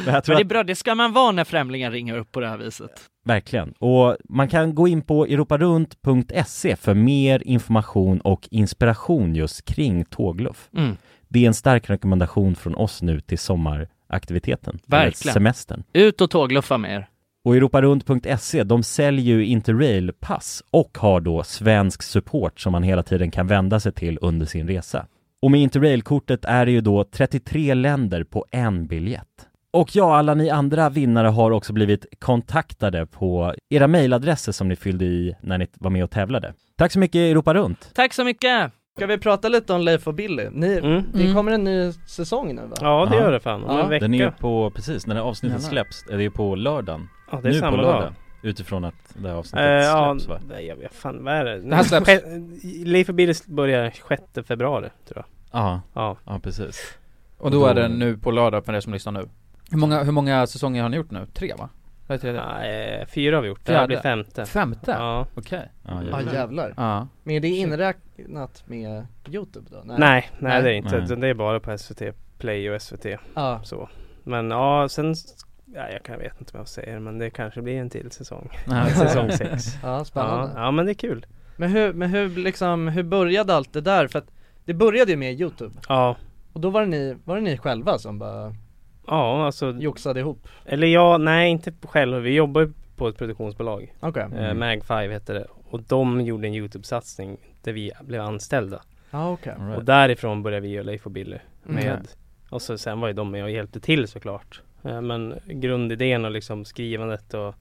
Speaker 4: Men jag tror
Speaker 3: Men det är
Speaker 4: att,
Speaker 3: bra, det ska man vara när främlingar ringer upp på det här viset.
Speaker 4: verkligen. Och man kan gå in på europarunt.se för mer information och inspiration just kring tågluff.
Speaker 3: Mm.
Speaker 4: Det är en stark rekommendation från oss nu till sommaraktiviteten. eller
Speaker 3: Verkligen.
Speaker 4: Semestern.
Speaker 3: Ut och tågluffa med er.
Speaker 4: Och europarunt.se, E, de säljer ju Interrail-pass och har då svensk support som man hela tiden kan vända sig till under sin resa. Och med Interrail-kortet är det ju då 33 länder på en biljett. Och ja, alla ni andra vinnare har också blivit kontaktade på era mejladresser som ni fyllde i när ni var med och tävlade. Tack så mycket Europa Runt!
Speaker 3: Tack så mycket!
Speaker 6: Ska vi prata lite om Leif och Billy? Ni,
Speaker 2: Mm.
Speaker 6: det kommer en ny säsong nu va?
Speaker 2: Ja det
Speaker 4: Ja.
Speaker 2: gör det fan, om
Speaker 6: Ja,
Speaker 2: en vecka.
Speaker 4: på, precis, när avsnittet
Speaker 1: Jävlar.
Speaker 4: släpps, det är på lördagen.
Speaker 2: Ja det är samma dag.
Speaker 4: Utifrån att det här
Speaker 2: Eh, ja, nej, jag vet fan vad är det?
Speaker 1: Det här släpps.
Speaker 2: Sche- Leif och Billy börjar 6 februari tror jag.
Speaker 4: Ja,
Speaker 2: Ja.
Speaker 4: ja precis.
Speaker 1: Och då är det nu på lördag för er som lyssnar nu Hur många, hur många säsonger har ni gjort nu? Tre va? Det är tredje.
Speaker 2: Nej, eh, fyra har vi gjort, det här
Speaker 1: Fjärde.
Speaker 2: blir femte.
Speaker 1: Femte?
Speaker 2: Ja.
Speaker 1: Okej
Speaker 4: Ja,
Speaker 6: Ja jävlar.
Speaker 1: Ja
Speaker 6: Men det är inräknat med Youtube då?
Speaker 2: Nej, nej,
Speaker 1: Nej.
Speaker 2: det är inte.
Speaker 4: Nej.
Speaker 2: Utan det är bara på SVT Play och SVT
Speaker 6: Ja.
Speaker 2: så. Men ja, sen Ja, jag, kan, jag vet inte vad jag säger men det kanske blir en till säsong. Säsong sex.
Speaker 6: Ja,
Speaker 2: Ja,
Speaker 6: spännande.
Speaker 2: ja men det är kul.
Speaker 6: Men hur, men hur liksom, hur började allt det där? För att det började ju med Youtube
Speaker 2: Ja,
Speaker 6: och då var det ni, var det ni själva som bara
Speaker 2: ja alltså.
Speaker 6: joxade ihop?
Speaker 2: Eller ja, nej inte själv. Vi jobbar ju på ett produktionsbolag.
Speaker 6: Okej.
Speaker 2: Eh, Mag5 heter det. Och de gjorde en Youtube-satsning där vi blev anställda.
Speaker 6: Ja okej.
Speaker 4: All right.
Speaker 2: Och därifrån började vi göra Leif och Billy med
Speaker 6: Mm.
Speaker 2: Och så sen var ju de med och hjälpte till såklart Eh, Men grundidén och liksom skrivandet och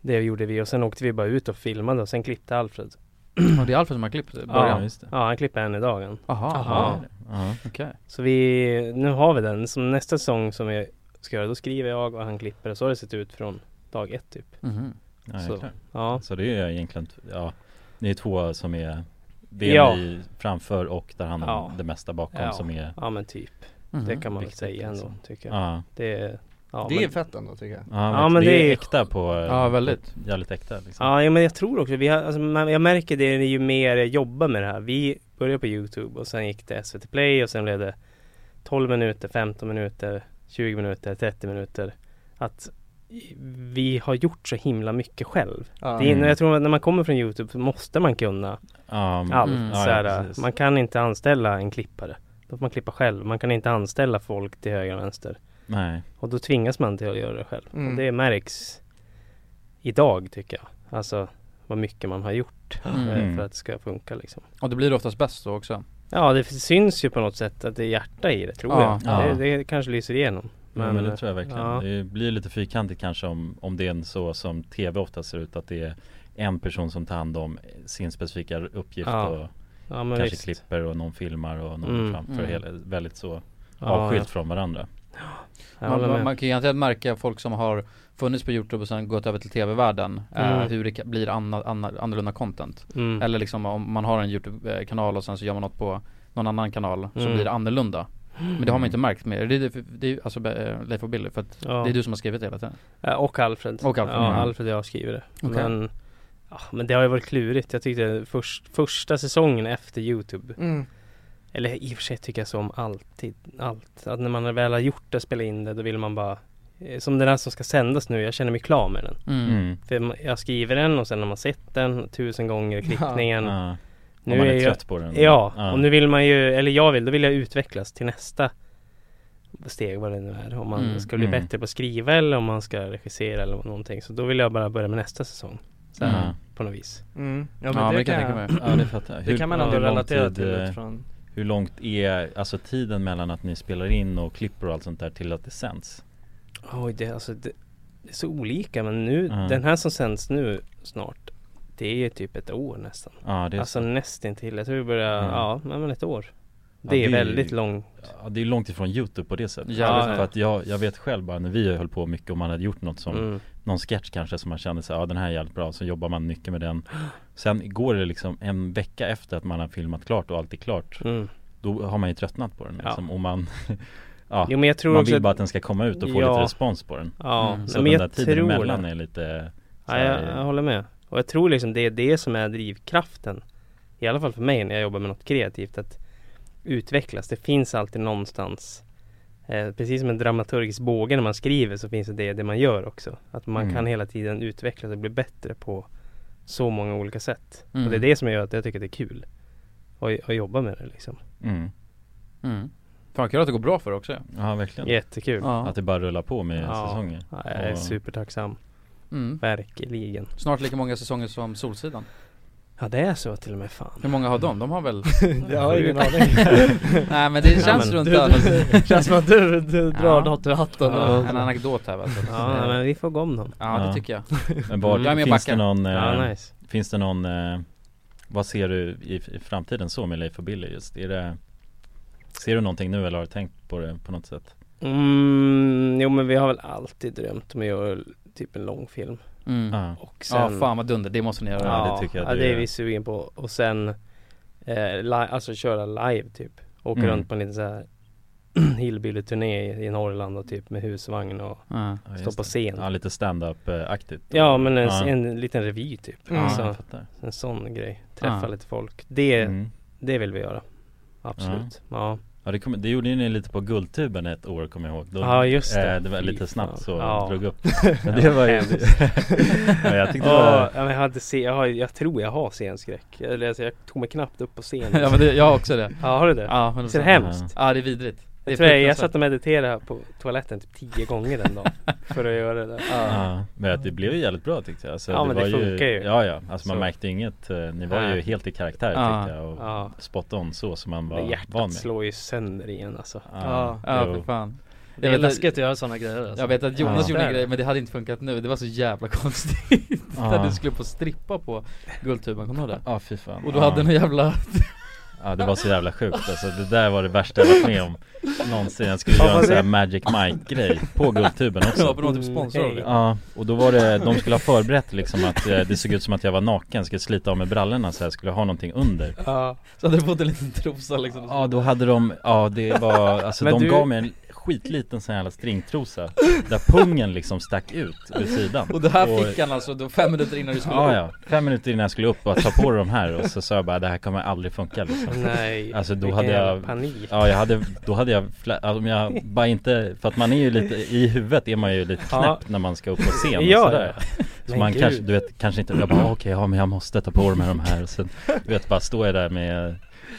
Speaker 2: Det gjorde vi och sen åkte vi bara ut och filmade och sen klippte Alfred
Speaker 1: Och det är Alfred som har klippt i
Speaker 4: Ja,
Speaker 1: början?
Speaker 4: just det.
Speaker 2: Ja han klipper än i dagen
Speaker 1: Jaha,
Speaker 2: Jaha.
Speaker 4: Ja.
Speaker 1: okej
Speaker 2: Så vi, nu har vi den som nästa säsong som vi ska göra Då skriver jag och han klipper och så har det sett ut från dag ett typ
Speaker 1: Mhm.
Speaker 4: Ja,
Speaker 2: Så.
Speaker 4: jäklar.
Speaker 2: Ja
Speaker 4: Så det är egentligen, ja, ni är två som är det
Speaker 2: Ja.
Speaker 4: ni framför och där han har
Speaker 2: Ja.
Speaker 4: det mesta bakom
Speaker 2: Ja.
Speaker 4: som är
Speaker 2: Ja men typ,
Speaker 1: Mhm.
Speaker 2: det kan man väl
Speaker 4: Viktigt,
Speaker 2: säga ändå
Speaker 4: liksom.
Speaker 2: tycker jag
Speaker 4: Ja,
Speaker 2: Det är, ja,
Speaker 6: Det är
Speaker 2: men,
Speaker 6: fett ändå tycker jag.
Speaker 4: ja,
Speaker 2: Ja,
Speaker 4: men det, är äkta på
Speaker 1: Ja, väldigt.
Speaker 4: Jävligt äkta liksom.
Speaker 2: Ja, ja, men jag tror också, vi har, alltså, man, jag märker det ju mer jag jobbar med det här. Vi började på Youtube och sen gick det SVT Play och sen blev det 12 minuter, 15 minuter, 20 minuter, 30 minuter. Att vi har gjort så himla mycket själv.
Speaker 6: Ja.
Speaker 2: Det är,
Speaker 4: Mm.
Speaker 2: jag tror att när man kommer från Youtube så måste man kunna
Speaker 4: Ja, men-
Speaker 2: allt.
Speaker 1: Mm.
Speaker 2: Så
Speaker 4: Ja, ja,
Speaker 2: här,
Speaker 4: precis.
Speaker 2: man kan inte anställa en klippare. Då får man klippa själv. Man kan inte anställa folk till höger och vänster.
Speaker 4: Nej.
Speaker 2: Och då tvingas man till att göra det själv.
Speaker 6: Mm.
Speaker 2: Och det märks idag tycker jag. Alltså vad mycket man har gjort
Speaker 1: Mm.
Speaker 2: eh, för att det ska funka liksom.
Speaker 1: Och det blir oftast bäst då också
Speaker 2: Ja det syns ju på något sätt att det är hjärta i det tror
Speaker 1: Ja.
Speaker 2: jag.
Speaker 4: Ja.
Speaker 2: Det, det kanske lyser igenom.
Speaker 4: Men, men det tror jag verkligen.
Speaker 2: Ja.
Speaker 4: Det blir lite fyrkantigt kanske om, om det är en så som tv ofta ser ut att det är en person som tar hand om sin specifika uppgift
Speaker 2: Ja,
Speaker 4: och
Speaker 2: Ja men
Speaker 4: kanske
Speaker 2: visst.
Speaker 4: klipper och någon filmar och någon
Speaker 2: Mm.
Speaker 4: framför
Speaker 1: Mm.
Speaker 4: hela, väldigt så
Speaker 2: Ja,
Speaker 4: avskilt från varandra.
Speaker 2: Jag, jag
Speaker 1: man,
Speaker 2: håller
Speaker 1: man,
Speaker 2: med.
Speaker 1: man kan ju egentligen märka folk som har funnits på youtube och sen gått över till tv-världen eh,
Speaker 2: Mm.
Speaker 1: Hur det ka- blir anna, anna, annorlunda content
Speaker 2: Mm.
Speaker 1: Eller liksom om man har en youtube-kanal och sen så gör man något på någon annan kanal så
Speaker 2: Mm.
Speaker 1: blir det annorlunda Men det har man inte märkt med, det är, det är alltså eh, Leif och Billy för att
Speaker 2: Ja.
Speaker 1: det är du som har skrivit det hela tiden
Speaker 2: Ja, Eh, Och Alfred.
Speaker 1: Och Alfred,
Speaker 2: Ja,
Speaker 1: mm.
Speaker 2: Alfred och jag skriver det.
Speaker 1: Okej.
Speaker 2: Men, ja, men det har ju varit klurigt. Jag tyckte först, första säsongen efter Youtube,
Speaker 3: Mm.
Speaker 2: eller i och för sig tycker jag så om alltid, allt. Att när man väl har gjort det, spelat in det, då vill man bara eh, som den här som ska sändas nu, jag känner mig klar med den.
Speaker 4: Mm.
Speaker 2: För man- jag skriver den och sen har man sett den tusen gånger, klippningen.
Speaker 4: Ja.
Speaker 2: Nu
Speaker 4: om man är,
Speaker 2: är jag-
Speaker 4: trött på den.
Speaker 2: Ja, och nu vill man ju, eller jag vill, då vill jag utvecklas till nästa steg vad det nu är. Om man
Speaker 1: Mm,
Speaker 2: ska bli
Speaker 4: mm.
Speaker 2: bättre på att skriva eller om man ska regissera eller någonting. Så då vill jag bara börja med nästa säsong. Så här,
Speaker 4: Ja.
Speaker 2: på något vis.
Speaker 6: Mm. Ja,
Speaker 1: Ja
Speaker 6: men det, kan jag,
Speaker 1: tänka mig
Speaker 4: Ja, det fattar jag.
Speaker 6: det kan man
Speaker 2: hur
Speaker 6: ändå
Speaker 4: lång
Speaker 6: relatera
Speaker 4: tid,
Speaker 6: till
Speaker 4: eh,
Speaker 6: utifrån
Speaker 4: Hur långt är alltså tiden mellan att ni spelar in och klipper och allt sånt där till att det sänds?
Speaker 2: Oj, det, alltså, det, det är så olika men nu,
Speaker 4: Ja.
Speaker 2: den här som sänds nu snart, det är typ ett år nästan.
Speaker 4: Ja det är,
Speaker 2: Alltså nästintill, jag tror det börjar,
Speaker 4: Mm.
Speaker 2: ja, nej, men ett år.
Speaker 4: Ja,
Speaker 2: Det är
Speaker 4: det är-
Speaker 2: väldigt långt.
Speaker 4: ja, det är långt ifrån Youtube på det sättet.
Speaker 1: Jävligt
Speaker 4: För att jag, jag vet själv bara när vi höll på mycket och man hade gjort något som
Speaker 2: Mm.
Speaker 4: någon sketch kanske som man kände sig, ja den här är jävligt bra, så jobbar man mycket med den Sen går det liksom en vecka efter att man har filmat klart och allt är klart
Speaker 2: Mm.
Speaker 4: Då har man ju tröttnat på den
Speaker 2: Ja.
Speaker 4: liksom, och man Ja,
Speaker 2: Jo men jag tror
Speaker 4: man
Speaker 2: också
Speaker 4: vill bara att den ska komma ut och få
Speaker 2: Ja.
Speaker 4: lite respons på den
Speaker 2: Ja,
Speaker 1: Mm.
Speaker 2: nej,
Speaker 4: Så
Speaker 2: men
Speaker 4: den där
Speaker 2: jag
Speaker 4: tiden
Speaker 2: tror
Speaker 4: emellan
Speaker 2: det.
Speaker 4: är lite så
Speaker 2: Ja,
Speaker 4: här, eh,
Speaker 2: jag, jag håller med. Och jag tror liksom det är det som är drivkraften. I alla fall för mig när jag jobbar med något kreativt. Att utvecklas. Det finns alltid någonstans. Eh, precis som en dramaturgisk båge när man skriver så finns det det, i det man gör också. Att man
Speaker 4: Mm.
Speaker 2: kan hela tiden utvecklas och bli bättre på så många olika sätt.
Speaker 1: Mm.
Speaker 2: Och det är det som gör att jag tycker att det är kul. Och, och jobba med det liksom.
Speaker 4: mm.
Speaker 1: mm. Fan kul att det går bra för det också ja.
Speaker 4: Ja verkligen
Speaker 2: Jättekul. Ja.
Speaker 1: ja.
Speaker 4: Att det bara rullar på med
Speaker 2: Ja.
Speaker 4: säsonger
Speaker 2: Jag är
Speaker 4: Och-
Speaker 2: supertacksam.
Speaker 1: Mm.
Speaker 2: Verkligen.
Speaker 1: Snart lika många säsonger som Solsidan
Speaker 2: Ja det är så till och med fan.
Speaker 1: Hur många har de? De har väl?
Speaker 6: Jag har ingen aning
Speaker 1: Nej men det känns
Speaker 2: men-
Speaker 1: runt
Speaker 6: Du-
Speaker 1: där
Speaker 6: Känns som att du, du drar
Speaker 1: Ja.
Speaker 6: något ur hatten
Speaker 2: Ja.
Speaker 1: En anekdot här va? Så att,
Speaker 2: Ja
Speaker 1: eh,
Speaker 2: nej, men vi får gå om dem.
Speaker 1: ja det
Speaker 4: Ja.
Speaker 1: tycker jag
Speaker 4: Men var,
Speaker 1: Mm. Jag är med och
Speaker 4: finns, det
Speaker 1: backar.
Speaker 4: någon, eh,
Speaker 2: Ja nice.
Speaker 4: finns det någon eh, Vad ser du i, i framtiden så med Leif och Billy just? Är det Ser du någonting nu eller har du tänkt på det på något sätt?
Speaker 2: Mm, jo men vi har väl alltid drömt om att göra typ en långfilm
Speaker 1: mm.
Speaker 4: Ja.
Speaker 2: och
Speaker 1: Ja
Speaker 2: sen
Speaker 1: fan vad dunder, det måste ni göra
Speaker 4: Ja, det tycker jag
Speaker 2: ja,
Speaker 4: du
Speaker 2: det är
Speaker 4: gör.
Speaker 2: vi sugen på och sen eh, li- alltså köra live typ Åka
Speaker 4: Mm.
Speaker 2: runt på en liten så här hillbilly-turné i, i Norrland och typ med husvagn och
Speaker 1: Ja.
Speaker 4: Ja,
Speaker 2: stå
Speaker 4: just
Speaker 2: på
Speaker 4: det.
Speaker 2: scen
Speaker 4: Ja, lite stand-up-aktigt
Speaker 2: Ja men en,
Speaker 4: Ja.
Speaker 2: en liten revy typ
Speaker 6: Mm.
Speaker 4: Ja, jag
Speaker 2: alltså,
Speaker 4: fattar.
Speaker 2: En sån grej, träffa
Speaker 1: Ja.
Speaker 2: lite folk det,
Speaker 4: Mm.
Speaker 2: det vill vi göra Absolut, ja,
Speaker 4: Ja, det, kom, det gjorde ju ni lite på Guldtuben ett år kommer jag ihåg Då,
Speaker 2: Ja, just det.
Speaker 4: eh, det var
Speaker 2: Fy
Speaker 4: lite
Speaker 2: fan.
Speaker 4: snabbt så
Speaker 2: Ja.
Speaker 4: drog upp Men det var ju ja, Jag tyckte det
Speaker 2: Ja,
Speaker 4: var
Speaker 2: men jag, hade se, jag, har, jag tror jag har scenskräck Eller alltså, jag tog mig knappt upp på scen
Speaker 1: ja men det, jag har också det
Speaker 2: Ja har du det?
Speaker 1: Ja, men
Speaker 2: Så det är
Speaker 4: hem?
Speaker 2: hemskt.
Speaker 1: Ja det är vidrigt Det är
Speaker 2: Jag tror jag, jag
Speaker 1: fruktansvärt.
Speaker 2: satt och mediterade på toaletten typ tio gånger den dagen för att göra det där.
Speaker 4: ja, Men att det blev ju jävligt bra tyckte jag alltså,
Speaker 2: Ja, men det
Speaker 4: var
Speaker 2: funkar ju.
Speaker 4: Ja ja, alltså man
Speaker 2: Så.
Speaker 4: märkte inget eh, Ni var
Speaker 2: Nej.
Speaker 4: ju helt i karaktär
Speaker 1: Ja.
Speaker 4: tyckte jag och
Speaker 2: Ja,
Speaker 4: spot on så som man var
Speaker 2: men
Speaker 4: van
Speaker 2: hjärtat
Speaker 4: med
Speaker 2: slår ju sönder igen alltså.
Speaker 6: Ja.
Speaker 1: Ja
Speaker 4: jo.
Speaker 1: för fan Jag
Speaker 6: Det är
Speaker 1: vet att-
Speaker 6: läskigt att göra sådana grejer alltså.
Speaker 1: Jag vet att
Speaker 4: Ja.
Speaker 1: Jonas gjorde
Speaker 6: Där.
Speaker 1: en grej men det hade inte funkat nu, det var så jävla konstigt
Speaker 4: Ja.
Speaker 1: När du skulle på strippa på Guldtuben, kommer du ihåg det?
Speaker 4: Ja fy fan
Speaker 1: Och då
Speaker 4: ja.
Speaker 1: hade någon jävla
Speaker 4: ja det var så jävla sjukt alltså Det där var det värsta jag varit med om Någonsin Jag skulle göra en sån här Magic Mike grej På Guldtuben också
Speaker 1: Ja, för de var typ sponsrade av det.
Speaker 4: Ja, och då var det, de skulle ha förberett liksom att eh, det såg ut som att jag var naken, skulle slita av mig brallorna så jag skulle ha någonting under
Speaker 2: Ja.
Speaker 1: Så hade du fått en liten trosa liksom
Speaker 4: Ja då hade de, ja det var, alltså
Speaker 2: Men
Speaker 4: de
Speaker 2: du-
Speaker 4: gav mig en skitliten sån här jävla stringtrosa Där pungen liksom stack ut vid sidan
Speaker 1: Och det här fick han alltså då fem minuter innan du skulle
Speaker 4: Ja ja, fem minuter innan jag skulle upp och ta på de här och så sa jag bara det här kommer aldrig funka liksom
Speaker 2: Nej,
Speaker 4: Alltså, då
Speaker 2: vilken
Speaker 4: hade
Speaker 2: jävla
Speaker 4: jag-
Speaker 2: panik.
Speaker 4: Ja jag hade, då hade jag, fla- alltså, om jag bara inte, för att man är ju lite, i huvudet är man ju lite knäpp
Speaker 2: Ja.
Speaker 4: när man ska upp på scen och
Speaker 2: Ja,
Speaker 4: sådär Så
Speaker 2: Men
Speaker 4: man
Speaker 2: gud.
Speaker 4: kanske, du vet, kanske inte, jag bara "Ah, okej, ja men jag måste ta på mig de här och sen, du vet bara står jag där med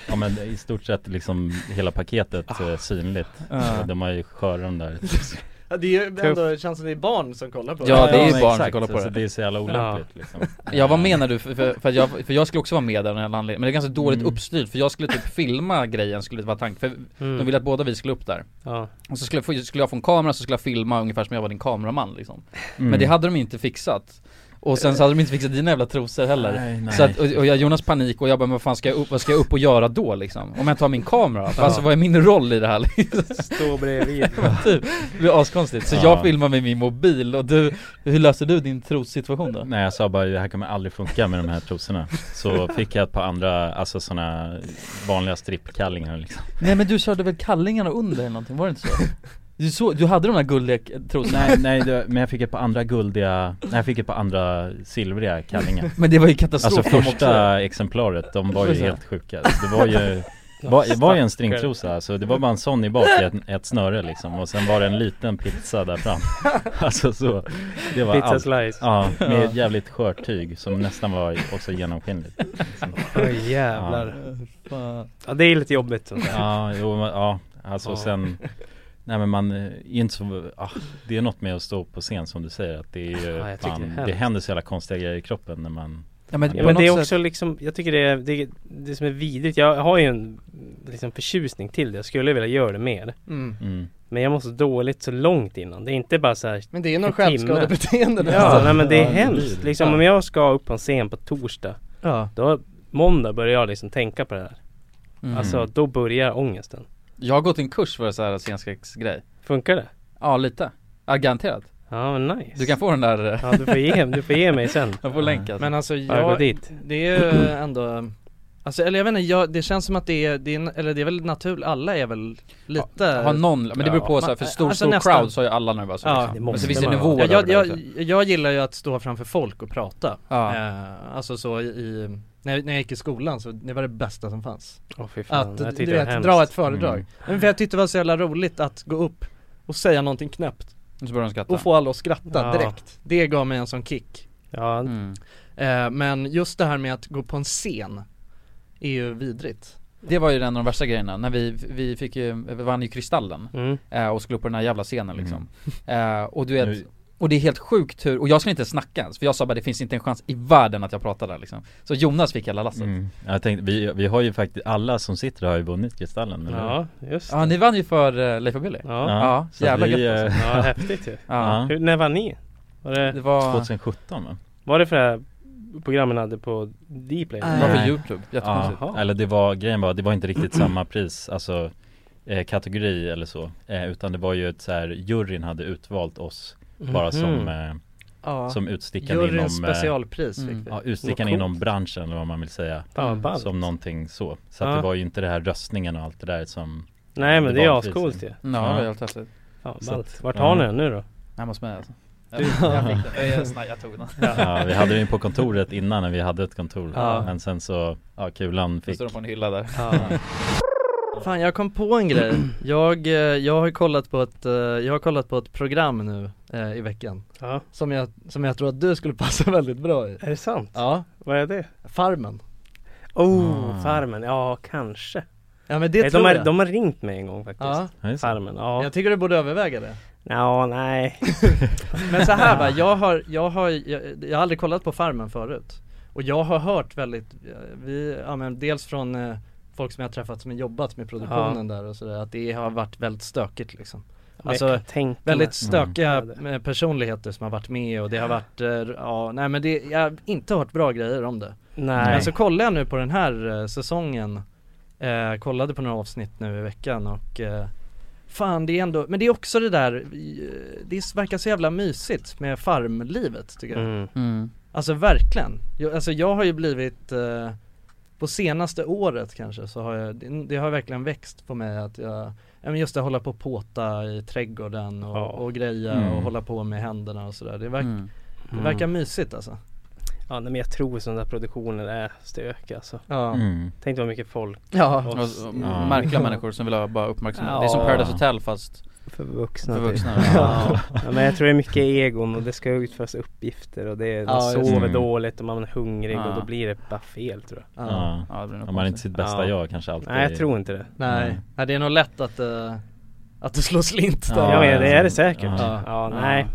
Speaker 4: Ja men i stort sett liksom hela paketet eh, synligt
Speaker 1: Ja.
Speaker 4: Och De har ju skört de där
Speaker 3: Ja, det är ju ändå, det känns som det är barn som kollar på det
Speaker 1: Ja, det är ju
Speaker 4: men
Speaker 1: barn som
Speaker 4: exakt.
Speaker 1: kollar på
Speaker 4: alltså,
Speaker 1: det.
Speaker 4: Det är så jävla olämpligt liksom
Speaker 1: Ja vad menar du? För, för, för, jag, för jag skulle också vara med där av den här anledningen. Men det är ganska dåligt uppstyrt för jag skulle typ filma grejen skulle det vara tanken. För de ville att båda vi skulle upp där.
Speaker 2: Mm. Ja.
Speaker 1: Och så skulle jag, få, skulle jag få en kamera så skulle jag filma ungefär som jag var din kameraman liksom.
Speaker 4: Mm.
Speaker 1: Men det hade de inte fixat. Och sen så hade de inte fixat dina jävla trosor heller.
Speaker 4: Nej, nej.
Speaker 1: Så att, och, och jag, Jonas panik och jag bara, men vad fan ska jag upp, vad ska jag upp och göra då liksom? Om jag tar min kamera, för alltså vad är min roll i det här liksom?
Speaker 2: Stå bredvid
Speaker 1: typ, det blir askonstigt. Så
Speaker 4: Ja.
Speaker 1: jag filmar med min mobil och du, hur löser du din trossituation då?
Speaker 4: Nej jag sa bara det här kommer aldrig funka med de här trosorna Så fick jag ett par andra, alltså sådana vanliga strippkallingar liksom
Speaker 1: Nej men du körde väl kallingarna under eller någonting, var det inte så? Du, så, du hade de där guldiga k- trosorna?
Speaker 4: Nej nej det, men jag fick ett par andra guldiga, nej jag fick ett par andra silvriga kallingar
Speaker 1: Men det var ju katastrof
Speaker 4: Alltså
Speaker 1: de också.
Speaker 4: första exemplaret, de var ju
Speaker 1: Precis.
Speaker 4: helt sjuka Det var ju var, det var ju en stringtrosa, alltså det var bara en sån i bak i ett, ett snöre liksom och sen var det en liten pizza där fram Alltså så, det var
Speaker 2: Pizza
Speaker 4: allt
Speaker 2: slice
Speaker 4: Ja, med ett jävligt skört tyg som nästan var också genomskinligt
Speaker 2: Oj jävlar
Speaker 1: Fan.
Speaker 2: Ja det är lite jobbigt sånt där
Speaker 4: Ja, jo, men, ja, alltså
Speaker 2: Ja.
Speaker 4: sen Nej men man eh, är ju inte så, ah, det är något med att stå upp på scen som du säger att det är ju,
Speaker 2: Ja, jag tycker
Speaker 4: fan,
Speaker 2: det är
Speaker 4: det,
Speaker 2: hemskt.
Speaker 4: händer så jävla konstiga grejer i kroppen när man
Speaker 1: Ja, men,
Speaker 2: Ja,
Speaker 1: på
Speaker 2: men det är
Speaker 1: något
Speaker 2: också liksom, jag tycker det, är- det, det som är vidrigt, jag har ju en liksom förtjusning till det, jag skulle vilja göra det mer
Speaker 3: mm.
Speaker 4: mm.
Speaker 2: Men jag mår så dåligt så långt innan, det är inte bara så här.
Speaker 3: Men det är någon
Speaker 2: En timme.
Speaker 3: självskadebeteende
Speaker 2: Ja, nej men det är
Speaker 4: Ja, det blir
Speaker 2: hemskt
Speaker 4: det.
Speaker 2: liksom om jag ska upp på en scen på torsdag
Speaker 3: ja.
Speaker 2: Då, måndag börjar jag liksom tänka på det här
Speaker 1: Mm.
Speaker 2: Alltså då börjar ångesten
Speaker 1: Jag har gått en kurs för så här scenskräcksgrej
Speaker 2: Funkar det?
Speaker 1: Ja lite, ja, garanterat
Speaker 2: Ja men nice
Speaker 1: Du kan få den där, eh,
Speaker 2: Ja du får ge, du får ge mig sen
Speaker 1: jag får länk alltså.
Speaker 3: Men alltså
Speaker 2: Bara gå
Speaker 3: jag,
Speaker 2: dit
Speaker 3: det är ju ändå Alltså eller jag vet inte, jag, det känns som att det är, det är, eller det är väl naturligt, alla är väl lite
Speaker 1: Har någon, men det beror på så här, för
Speaker 3: Ja,
Speaker 1: stor,
Speaker 3: alltså
Speaker 1: stor
Speaker 3: nästan.
Speaker 1: crowd så har ju alla nervösa
Speaker 3: Ja,
Speaker 1: liksom.
Speaker 2: det
Speaker 1: Men
Speaker 2: måste
Speaker 1: så finns det
Speaker 2: man ha.
Speaker 1: nivåer
Speaker 3: Ja, jag,
Speaker 1: över det
Speaker 3: jag,
Speaker 1: också.
Speaker 3: jag gillar ju att stå framför folk och prata
Speaker 1: Ja.
Speaker 3: eh, Alltså så i- i, när jag, när jag gick i skolan så det var det bästa som fanns
Speaker 2: Åh fy fan,
Speaker 3: Att,
Speaker 2: jag
Speaker 3: du
Speaker 2: tyckte det var
Speaker 3: vet,
Speaker 2: hemskt
Speaker 3: dra ett föredrag
Speaker 4: Mm.
Speaker 3: Men för jag tyckte det var så jävla roligt att gå upp och säga någonting knäppt
Speaker 1: Så börjar de skratta
Speaker 3: och få alla att skratta
Speaker 2: Ja.
Speaker 3: direkt Det gav mig en sån kick
Speaker 2: Ja,
Speaker 1: mm.
Speaker 3: eh, Men just det här med att gå på en scen är ju vidrigt
Speaker 1: Det var ju en av de värsta grejerna, när vi, vi fick ju, vi vann ju Kristallen
Speaker 2: mm.
Speaker 1: eh, och skulle upp på den här jävla scenen liksom eh, Och du
Speaker 4: Nu-
Speaker 1: vet, och det är helt sjukt hur, och jag skulle inte snacka ens, för jag sa bara det finns inte en chans i världen att jag pratar där liksom Så Jonas fick hela lasset
Speaker 4: Mm. Jag tänkte, vi, vi har ju faktiskt, alla som sitter här har ju vunnit Kristallen eller?
Speaker 2: ja just det
Speaker 1: Ja ni vann ju för eh, Leif och Billy
Speaker 2: Ja, alltså.
Speaker 1: ja,
Speaker 4: så att
Speaker 1: jävla
Speaker 4: vi,
Speaker 1: gött
Speaker 4: eh,
Speaker 2: ja häftigt ju
Speaker 1: Ja,
Speaker 2: Hur, när var ni? Var
Speaker 1: det
Speaker 2: det,
Speaker 1: var,
Speaker 4: 2017 va?
Speaker 2: var det för det här programmen hade på Dplay?
Speaker 1: det var för
Speaker 4: Nej.
Speaker 1: youtube, jättekonstigt
Speaker 4: Ja, eller det var, grejen var, det var inte riktigt samma pris, alltså eh, kategori eller så eh, Utan det var ju ett så här, juryn hade utvalt oss
Speaker 2: Mhm.
Speaker 4: bara som, eh,
Speaker 3: Ja,
Speaker 4: som utstickande inom eh,
Speaker 3: juryns specialpris
Speaker 1: mm.
Speaker 3: fick vi
Speaker 4: Ja, utstickaren
Speaker 2: Vad coolt.
Speaker 4: inom branschen eller vad man vill säga
Speaker 2: Fan vad ballt.
Speaker 4: Som någonting så Så att
Speaker 2: Ja.
Speaker 4: det var ju inte det här röstningen och allt det där som
Speaker 2: Nej men
Speaker 4: det
Speaker 2: det är
Speaker 4: var precis.
Speaker 2: ascoolt ju
Speaker 1: Ja, det var helt häftigt
Speaker 2: Fan
Speaker 4: Så
Speaker 2: ballt
Speaker 4: att-
Speaker 2: Vart har ni
Speaker 4: ja.
Speaker 2: den nu då?
Speaker 1: Hemma hos mig alltså jag, jag, fick det. jag, jag, jag tog den
Speaker 4: ja, Vi hade den ju på kontoret innan när vi hade ett kontor
Speaker 2: Ja.
Speaker 4: Men sen så, ja kulan
Speaker 1: Så
Speaker 4: fick
Speaker 1: står de på en hylla där
Speaker 3: Fan jag kom på en grej. Jag, eh, jag har kollat på ett, eh, jag har kollat på ett program nu eh, i veckan
Speaker 2: Ja
Speaker 3: som jag, som jag tror att du skulle passa väldigt bra i
Speaker 2: Är det sant?
Speaker 3: Ja,
Speaker 2: Vad är det?
Speaker 3: Farmen Mm.
Speaker 2: Oh,
Speaker 4: Ah.
Speaker 2: Farmen, ja kanske
Speaker 3: Ja men det
Speaker 2: Eh,
Speaker 3: tror
Speaker 2: de, har,
Speaker 3: jag
Speaker 2: de har ringt mig en gång faktiskt
Speaker 3: ja.
Speaker 4: Ja, just det.
Speaker 2: Farmen, ja
Speaker 3: jag tycker du borde överväga det
Speaker 2: Ja, nej
Speaker 3: Men så här va, jag har, jag har, jag, jag har aldrig kollat på Farmen förut Och jag har hört väldigt, eh, vi, ja men dels från eh, folk som jag har träffat som har jobbat med produktionen där och sådär Att det har varit väldigt stökigt liksom Alltså,
Speaker 2: Alltså, tänk
Speaker 3: Väldigt
Speaker 2: väldigt
Speaker 3: stökiga
Speaker 2: Mm.
Speaker 3: eh, personligheter som har varit med och det har varit, eh, ja nej men det, jag har inte hört bra grejer om det
Speaker 2: Nej,
Speaker 3: Men så kollade jag nu på den här eh, säsongen eh, Kollade på några avsnitt nu i veckan och eh, Fan det är ändå, men det är också det där, eh, det verkar så jävla mysigt med farmlivet tycker jag
Speaker 2: mm.
Speaker 1: mm.
Speaker 3: Alltså verkligen, jag, alltså jag har ju blivit eh, På senaste året kanske så har jag, det, det har verkligen växt på mig att jag Ja men just det, hålla på och påta i trädgården och,
Speaker 2: Ja.
Speaker 3: och greja och
Speaker 4: Mm.
Speaker 3: hålla på med händerna och sådär det, verk,
Speaker 1: Mm.
Speaker 3: det verkar mysigt alltså
Speaker 2: Ja, nej, men jag tror sådana där produktioner är stök alltså
Speaker 3: Ja,
Speaker 4: mm.
Speaker 2: Tänk vad mycket folk
Speaker 3: ja.
Speaker 2: och
Speaker 1: Och- och
Speaker 4: Ja.
Speaker 1: Märkliga människor som vill ha bara uppmärksamhet. Det är som
Speaker 2: Ja.
Speaker 1: Paradise Hotel fast
Speaker 2: för vuxna
Speaker 1: för
Speaker 2: typ.
Speaker 1: vuxna.
Speaker 2: Ja. ja, men jag tror det är mycket egon och det ska utföras uppgifter och det är, man
Speaker 3: Ja, just
Speaker 2: sover
Speaker 4: det.
Speaker 2: dåligt och man är hungrig och
Speaker 1: Ja.
Speaker 2: då blir det bara fel tror jag
Speaker 3: ja.
Speaker 4: Ja.
Speaker 1: Ja, det blir nog
Speaker 4: Om man är inte
Speaker 1: konstigt.
Speaker 4: sitt bästa
Speaker 2: Ja.
Speaker 4: jag kanske alltid
Speaker 2: Nej jag tror inte det
Speaker 3: Nej,
Speaker 4: Nej.
Speaker 3: Nej det är nog lätt att, eh, att du slår slint där.
Speaker 2: Ja, men det är det säkert. Ja,
Speaker 3: Ja.
Speaker 2: nej.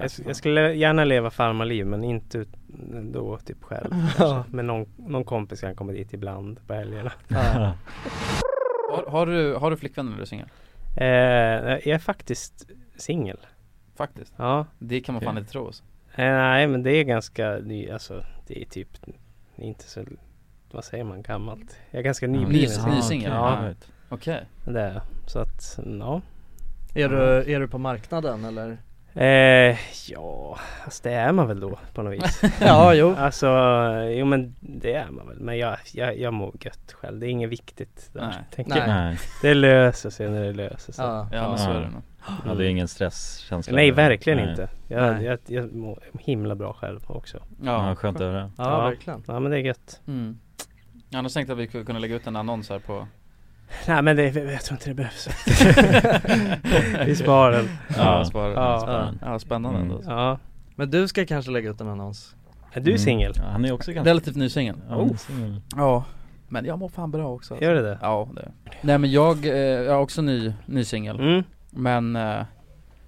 Speaker 2: Jag, jag skulle gärna leva farmarliv men inte ut- då typ själv.
Speaker 3: Ja.
Speaker 2: kanske. Men någon, någon kompis kan komma dit ibland på helgerna.
Speaker 3: Ja.
Speaker 1: Har, har, du, har du flickvän eller är du singel?
Speaker 2: Eh, jag är faktiskt singel.
Speaker 1: Faktiskt.
Speaker 2: Ja.
Speaker 1: Det kan man fan
Speaker 2: Okej.
Speaker 1: inte tro alltså.
Speaker 2: Eh, nej men det är ganska ny, alltså det är typ inte så, vad säger man, gammalt. Jag är ganska nybliven.
Speaker 1: Nys-
Speaker 2: singel.
Speaker 1: nysingel?
Speaker 2: Ja,
Speaker 1: Okej.
Speaker 2: det är jag. Så att, ja.
Speaker 3: Är du, Eh, är du på marknaden eller?
Speaker 2: Eh, ja, alltså det är man väl då på något vis.
Speaker 3: Ja, jo.
Speaker 2: Alltså, jo men det är man väl. Men jag, jag, jag mår gött själv. Det är inget viktigt där,
Speaker 1: Nej.
Speaker 2: tänker
Speaker 3: Nej.
Speaker 2: jag.
Speaker 4: Nej.
Speaker 2: Det löser sig när det löser sig.
Speaker 3: Ja.
Speaker 1: Ja, men så är det nog.
Speaker 4: Ja, det är ingen stresskänsla
Speaker 2: Nej, verkligen
Speaker 4: Nej.
Speaker 2: inte. Jag,
Speaker 1: Nej.
Speaker 2: Jag, jag mår himla bra själv också.
Speaker 4: Ja, skönt att höra
Speaker 3: Ja,
Speaker 2: Ja.
Speaker 3: verkligen.
Speaker 2: Ja, men det är gött.
Speaker 1: Mm. Annars tänkte jag att vi skulle kunna lägga ut en annons här på
Speaker 2: Nej, men det, jag tror inte det behövs. Vi sparar den.
Speaker 1: Ja,
Speaker 4: Ja.
Speaker 1: spara,
Speaker 2: Ja.
Speaker 1: spara. ja spännande
Speaker 4: Mm.
Speaker 1: ändå alltså.
Speaker 2: Ja.
Speaker 3: Men du ska kanske lägga ut en annons?
Speaker 2: Är du
Speaker 4: Mm.
Speaker 2: singel? Oh.
Speaker 4: Ja, Han är också ganska
Speaker 1: Relativt ny singel
Speaker 4: ja, han är singel.
Speaker 1: Ja Men jag mår fan bra också alltså.
Speaker 2: Gör du det?
Speaker 1: Ja det Nej men jag, eh, jag är också ny, ny singel
Speaker 2: Mm.
Speaker 1: Men eh,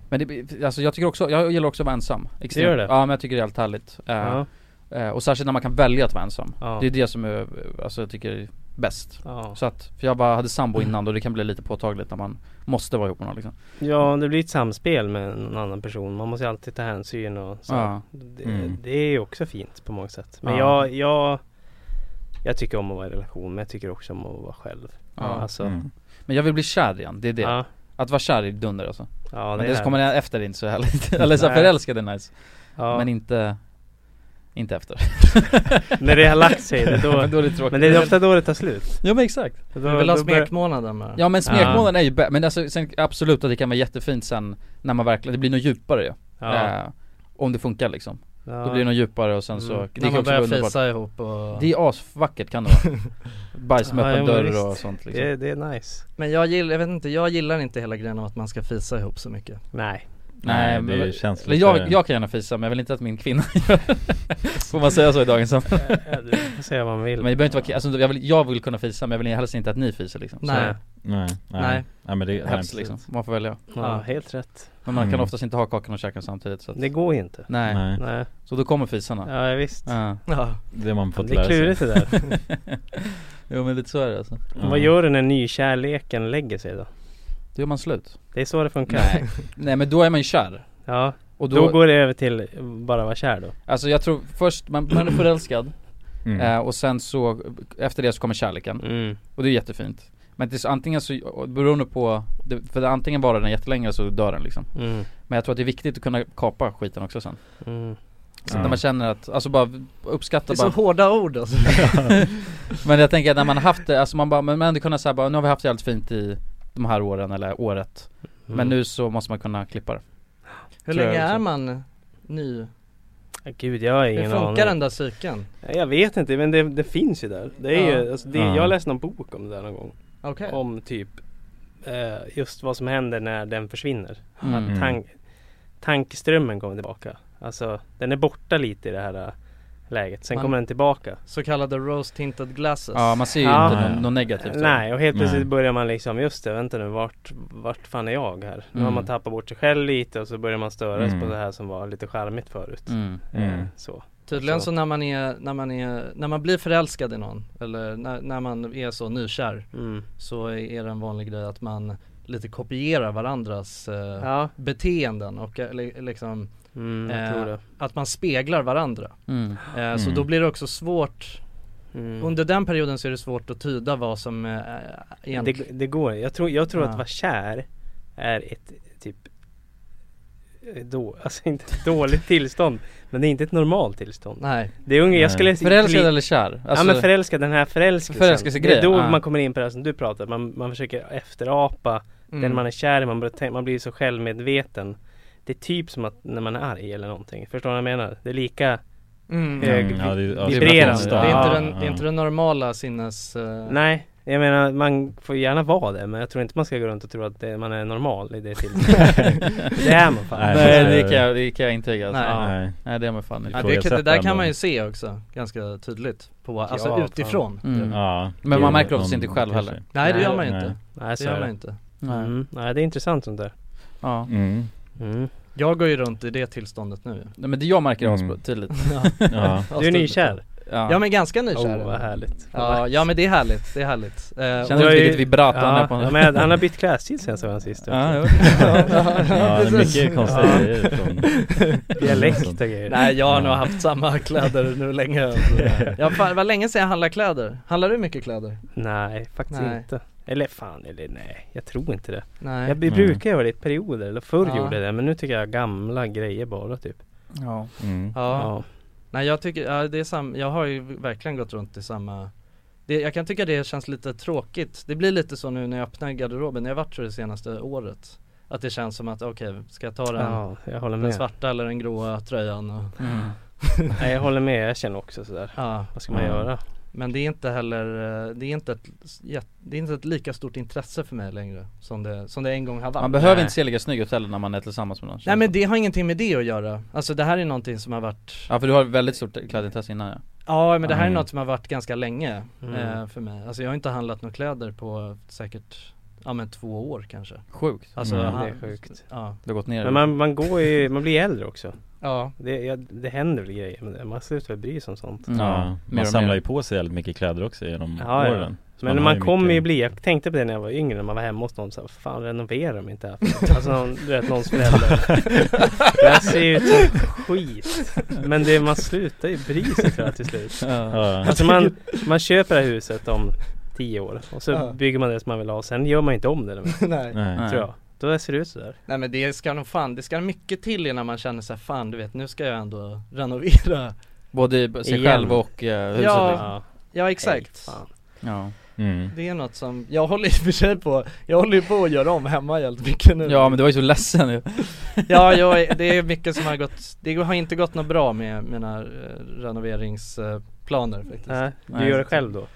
Speaker 1: Men det, alltså jag tycker också, jag gillar också att vara ensam Extremt.
Speaker 2: Gör det?
Speaker 1: Ja men jag tycker det är helt härligt Eh,
Speaker 2: Ja.
Speaker 1: eh, Och särskilt när man kan välja att vara ensam
Speaker 2: Ja.
Speaker 1: Det är det som är, alltså jag tycker är bäst
Speaker 2: Ja.
Speaker 1: Så att, för jag bara hade sambo innan då det kan bli lite påtagligt när man måste vara ihop med någon liksom
Speaker 2: ja, det blir ett samspel med någon annan person. Man måste ju alltid ta hänsyn och så.
Speaker 1: Ja.
Speaker 2: Det,
Speaker 4: Mm.
Speaker 2: det är ju också fint på många sätt. Men
Speaker 1: Ja.
Speaker 2: jag, jag, jag tycker om att vara i relation men jag tycker också om att vara själv.
Speaker 1: Ja.
Speaker 2: Alltså,
Speaker 4: Mm.
Speaker 1: Men jag vill bli kär igen, det är det
Speaker 2: Ja,
Speaker 1: Att vara kär är dunder alltså
Speaker 2: ja det,
Speaker 1: Men det
Speaker 2: är
Speaker 1: som kommer efter är inte så härligt, eller så här,
Speaker 2: Nej.
Speaker 1: förälskad är nice
Speaker 2: ja.
Speaker 1: Men inte, inte efter
Speaker 2: När det har lagt sig, det är då,
Speaker 1: Men då är det tråkigt
Speaker 2: Men det är ofta då det tar slut.
Speaker 1: Ja men exakt
Speaker 2: Då,
Speaker 3: Du vill ha
Speaker 2: då börjar-
Speaker 3: smekmånaden med
Speaker 1: Ja men smekmånaden är ju bä- men alltså, sen, absolut att det kan vara jättefint sen när man verkligen, det blir nog djupare ju
Speaker 2: Ja.
Speaker 1: eh, Om det funkar liksom,
Speaker 2: Ja.
Speaker 1: då blir det nog djupare och sen så,
Speaker 2: Mm.
Speaker 1: det
Speaker 3: När
Speaker 1: kan
Speaker 3: man
Speaker 1: också vara
Speaker 3: börjar
Speaker 1: underbart
Speaker 3: fisa ihop och...
Speaker 1: Det är asvackert kan det vara Bajs med
Speaker 2: Ja,
Speaker 1: öppen
Speaker 2: jo, men
Speaker 1: dörr och
Speaker 2: visst.
Speaker 1: sånt liksom
Speaker 2: det, det är nice.
Speaker 3: Men jag gillar, jag vet inte, jag gillar inte hela grejen om att man ska fisa ihop så mycket
Speaker 2: Nej.
Speaker 1: Nej,
Speaker 4: Nej, det
Speaker 1: men-
Speaker 4: känns
Speaker 1: Eller
Speaker 4: lite
Speaker 1: jag, jag kan gärna fisa men jag vill inte att min kvinna gör det. Får man säga så i dagens samtal?
Speaker 2: Du får säga vad man vill.
Speaker 1: Men det behöver inte vara ki- alltså, jag, vill, jag vill kunna fisa men jag vill helst inte att ni fiser liksom
Speaker 3: Nej.
Speaker 4: Nej, nej,
Speaker 3: Nej.
Speaker 4: nej. men det, nej.
Speaker 1: Helst liksom, man får välja
Speaker 2: Ja,
Speaker 3: Ja.
Speaker 2: helt rätt.
Speaker 1: Men man kan
Speaker 4: Mm.
Speaker 1: oftast inte ha kakan och käka samtidigt så att,
Speaker 2: Det går ju inte.
Speaker 1: nej.
Speaker 4: Nej,
Speaker 2: Nej.
Speaker 1: så då kommer fisarna
Speaker 2: Ja, visst.
Speaker 1: ja.
Speaker 3: Ja,
Speaker 4: det har man fått
Speaker 2: Det är
Speaker 4: lära sig
Speaker 2: klurigt det där.
Speaker 1: Jo men lite så är det alltså
Speaker 4: Ja.
Speaker 2: Vad gör du när nykärleken lägger sig då?
Speaker 1: Då gör man slut
Speaker 2: Det är så det funkar.
Speaker 1: Nej, nej men då är man ju kär
Speaker 2: Ja,
Speaker 1: Och
Speaker 2: då,
Speaker 1: då,
Speaker 2: går det över till bara vara kär då.
Speaker 1: alltså jag tror först man, man är förälskad
Speaker 4: Mm.
Speaker 1: eh, och sen så, efter det så kommer kärleken
Speaker 2: Mm.
Speaker 1: och det är jättefint Men det är så, antingen så, och beroende på, det, för det, antingen varar den jättelänge eller så dör den liksom
Speaker 2: Mm.
Speaker 1: Men jag tror att det är viktigt att kunna kapa skiten också sen
Speaker 2: Mm.
Speaker 1: Så
Speaker 4: Ja.
Speaker 1: när man känner att, alltså bara
Speaker 3: det
Speaker 1: uppskatta
Speaker 3: är så
Speaker 1: bara
Speaker 3: hårda ord alltså
Speaker 1: Men jag tänker att när man har haft det, alltså man bara, men man hade kunnat säga bara, nu har vi haft det jävligt fint i de här åren eller året
Speaker 2: Mm.
Speaker 1: Men nu så måste man kunna klippa det
Speaker 3: Hur
Speaker 1: Tror jag
Speaker 3: länge
Speaker 1: också.
Speaker 3: är man ny?
Speaker 2: Ja, Gud, jag har ingen
Speaker 3: Hur
Speaker 2: aning.
Speaker 3: funkar den där cykeln?
Speaker 2: Ja, Jag vet inte, men det, det finns ju där. Det är
Speaker 3: Ja.
Speaker 2: ju, alltså, det,
Speaker 4: Ja.
Speaker 2: jag läste någon bok om det där någon gång.
Speaker 3: Okej
Speaker 2: Om typ eh, just vad som händer när den försvinner.
Speaker 1: Mm.
Speaker 2: Att tan- tankeströmmen kommer tillbaka. Alltså den är borta lite i det här eh, läget. Sen
Speaker 3: Man-
Speaker 2: kommer den tillbaka.
Speaker 3: Så kallade rose tinted glasses
Speaker 1: Ja man ser ju
Speaker 2: Ja.
Speaker 1: inte något, något negativt då.
Speaker 2: Nej, och helt plötsligt
Speaker 4: Nej.
Speaker 2: börjar man liksom, just det, vänta nu, vart, vart fan är jag här? Nu har
Speaker 1: Mm.
Speaker 2: man tappat bort sig själv lite och så börjar man störas
Speaker 4: Mm.
Speaker 2: på det här som var lite charmigt förut.
Speaker 1: mm.
Speaker 4: Mm.
Speaker 2: Eh, Så.
Speaker 3: Tydligen
Speaker 2: Så.
Speaker 3: så när man är, när man är, när man blir förälskad i någon eller när, när man är så nykär
Speaker 2: Mm.
Speaker 3: så är det en vanlig grej att man lite kopierar varandras eh,
Speaker 2: Ja,
Speaker 3: beteenden och eh, li- liksom
Speaker 2: mm, jag
Speaker 3: eh,
Speaker 2: tror det.
Speaker 3: att man speglar varandra.
Speaker 1: Mm.
Speaker 3: Eh, Så
Speaker 4: Mm.
Speaker 3: då blir det också svårt,
Speaker 2: Mm.
Speaker 3: under den perioden så är det svårt att tyda vad som eh,
Speaker 2: Det,
Speaker 3: egentligen
Speaker 2: det går, jag tror, jag tror
Speaker 3: Ja.
Speaker 2: att vara kär är ett typ eh, då, alltså inte ett dåligt tillstånd men det är inte ett normalt tillstånd.
Speaker 3: Nej,
Speaker 2: Det är unga,
Speaker 4: Nej.
Speaker 2: jag skulle
Speaker 1: Förälskad eller kär? Alltså,
Speaker 2: ja men förälskad, den här förälskelsen.
Speaker 1: Förälskelsegrejen,
Speaker 2: Det är då
Speaker 1: ja.
Speaker 2: man kommer in på det här som du pratar man, man försöker efterapa den man är kär i, man, börjar tänka- man blir så självmedveten. Det är typ som att när man är arg eller någonting. Förstår du vad jag menar? Det är lika
Speaker 3: Mm.
Speaker 2: hög
Speaker 4: Mm, ja, det är- ja,
Speaker 2: vibrerande.
Speaker 3: Det är,
Speaker 2: Ja.
Speaker 3: inte den, det är inte den normala sinnes... eh,
Speaker 2: Nej, jag menar man får gärna vara det men jag tror inte man ska gå runt och tro att det, man är normal i det tillståndet. det är man fan.
Speaker 4: Nej,
Speaker 1: Nej
Speaker 4: det-
Speaker 1: det kan jag, det kan jag intyga alltså.
Speaker 3: Nej.
Speaker 1: Nej.
Speaker 4: Nej.
Speaker 1: nej det är man fan inte
Speaker 3: Ja, det, kan- det där kan
Speaker 4: Ifrågasättande.
Speaker 3: man ju se också ganska tydligt på, alltså
Speaker 2: Ja, fan.
Speaker 3: utifrån
Speaker 1: mm.
Speaker 4: Ja.
Speaker 1: Men man
Speaker 4: Jo,
Speaker 1: märker oftast
Speaker 4: någon-
Speaker 1: inte själv
Speaker 4: kanske.
Speaker 1: heller.
Speaker 3: Nej det
Speaker 2: Nej,
Speaker 3: gör man ju
Speaker 4: nej.
Speaker 3: inte,
Speaker 2: Nej,
Speaker 3: det
Speaker 2: så är
Speaker 3: gör man
Speaker 2: det.
Speaker 3: inte
Speaker 2: Nej. Mm. Nej det är intressant sånt där
Speaker 1: Ja
Speaker 4: Mm.
Speaker 2: mm.
Speaker 3: Jag går ju runt i det tillståndet nu
Speaker 1: Nej men det jag märker
Speaker 4: Mm.
Speaker 1: mm. tydligt
Speaker 4: Ja.
Speaker 2: Du är nykär?
Speaker 1: Ja,
Speaker 3: Ja men ganska
Speaker 2: Åh
Speaker 3: nykär
Speaker 2: vad härligt
Speaker 3: ja, ja men det är härligt, det är härligt Eh,
Speaker 1: Känner
Speaker 2: Jag
Speaker 1: du
Speaker 2: är-
Speaker 1: vilket vibrat han är
Speaker 2: ja,
Speaker 1: på
Speaker 2: ja, men han har bytt klädstil sen sen sist också.
Speaker 1: Ja, jo.
Speaker 4: Ja, det är mycket konstiga
Speaker 2: Ja.
Speaker 4: grejer från...
Speaker 2: Dialekt och grejer
Speaker 3: Nej jag har
Speaker 4: Ja.
Speaker 3: nog haft samma kläder nu länge Ja fan, vad länge sedan jag handlar kläder Handlar du mycket kläder?
Speaker 2: Nej, faktiskt
Speaker 3: Nej.
Speaker 2: inte Eller fan, eller nej, jag tror inte det
Speaker 3: Nej
Speaker 2: Jag b-
Speaker 4: Nej.
Speaker 2: brukar göra det i perioder, eller förr
Speaker 3: Ja.
Speaker 2: gjorde jag det Men nu tycker jag gamla grejer bara typ
Speaker 1: ja.
Speaker 4: Mm.
Speaker 3: Ja, nej jag tycker, ja, det är sam, jag har ju verkligen gått runt i samma det, Jag kan tycka det känns lite tråkigt Det blir lite så nu när jag öppnar garderoben, jag har varit så det senaste året Att det känns som att okej, ska jag ta den,
Speaker 2: ja jag håller
Speaker 3: den
Speaker 2: med
Speaker 3: svarta eller den gråa tröjan och,
Speaker 1: Mm.
Speaker 2: Nej jag håller med, jag känner också sådär
Speaker 3: ja.
Speaker 2: Vad ska man
Speaker 4: Ja.
Speaker 2: göra?
Speaker 3: Men det är inte heller, eh, det är inte ett, s- jät- det är inte ett lika stort intresse för mig längre som det, som det en gång har varit
Speaker 1: Man behöver
Speaker 2: Nej.
Speaker 1: inte se lika snygg ut heller när man är tillsammans med någon
Speaker 3: Nej men det har ingenting med det att göra, alltså det här är någonting som har varit
Speaker 1: Ja för du har väldigt stort klädintresse innan ja
Speaker 3: Ja men det här är
Speaker 4: Mm.
Speaker 3: något som har varit ganska länge
Speaker 2: Mm.
Speaker 3: eh, för mig Alltså jag har inte handlat några kläder på säkert, ja men två år kanske
Speaker 1: Sjukt,
Speaker 3: Alltså
Speaker 4: Mm.
Speaker 3: han-
Speaker 2: Det är sjukt
Speaker 3: ja.
Speaker 1: det har gått ner
Speaker 2: Men man, man går ju, man blir äldre också
Speaker 3: ja
Speaker 2: Det, ja, det händer väl grejer med det, man slutar väl bry sig om sånt
Speaker 1: Mm.
Speaker 4: Ja,
Speaker 1: mer
Speaker 4: man
Speaker 1: och
Speaker 4: samlar
Speaker 1: mer.
Speaker 4: ju på sig väldigt mycket kläder också genom
Speaker 2: Ja, ja.
Speaker 4: åren Så
Speaker 2: Men
Speaker 4: har
Speaker 2: man, kommer ju
Speaker 4: mycket-
Speaker 2: bli, jag tänkte på det när jag var yngre när man var hemma hos någon så här, fan renoverar de inte här? Alltså någon, du vet någons förälder Det här ser ju ut som skit Men det, man slutar ju bry sig tror jag till slut
Speaker 1: Ja.
Speaker 4: Ja,
Speaker 2: Alltså man, man köper det här huset om tio år och så
Speaker 3: Ja.
Speaker 2: bygger man det som man vill ha sen gör man inte om det mer,
Speaker 3: nej.
Speaker 4: nej.
Speaker 2: tror jag Då ser det ut sådär
Speaker 3: nej men det ska nog fan, det ska mycket till innan man känner sig fan du vet nu ska jag ändå renovera
Speaker 1: Både i sig
Speaker 2: Igen.
Speaker 1: själv och eh, huset
Speaker 3: Ja.
Speaker 1: liksom.
Speaker 3: Ja exakt
Speaker 2: Ej, fan.
Speaker 1: ja.
Speaker 4: Mm.
Speaker 3: Det är något som, jag håller i och för sig på, jag håller ju på att göra om hemma jävligt mycket nu
Speaker 1: ja men du var ju så ledsen ju
Speaker 3: Ja, jag, är- det är mycket som har gått, det har inte gått något bra med mina renoveringsplaner faktiskt
Speaker 2: Nej, du
Speaker 1: Nej.
Speaker 2: gör det själv då?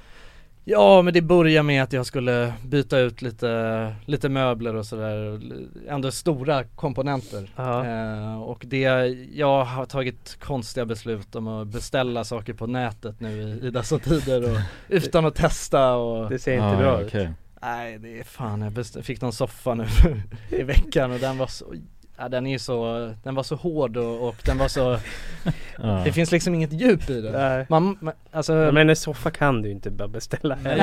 Speaker 3: Ja, men det började med att jag skulle byta ut lite, lite möbler och sådär, och li- ändå stora komponenter
Speaker 2: Ja,
Speaker 3: Eh, och det, jag har tagit konstiga beslut om att beställa saker på nätet nu i, i dessa tider och utan att testa och
Speaker 2: det ser inte
Speaker 4: Ja,
Speaker 2: bra
Speaker 4: ja,
Speaker 2: ut
Speaker 4: okej.
Speaker 3: Nej det är fan, jag best- fick någon soffa nu i veckan och den var så Ja, den är ju så, den var så hård och, och den var så,
Speaker 4: Ja.
Speaker 3: det finns liksom inget djup i den
Speaker 2: Nej.
Speaker 3: Man, man alltså
Speaker 2: Men en soffa kan du ju inte bara beställa heller.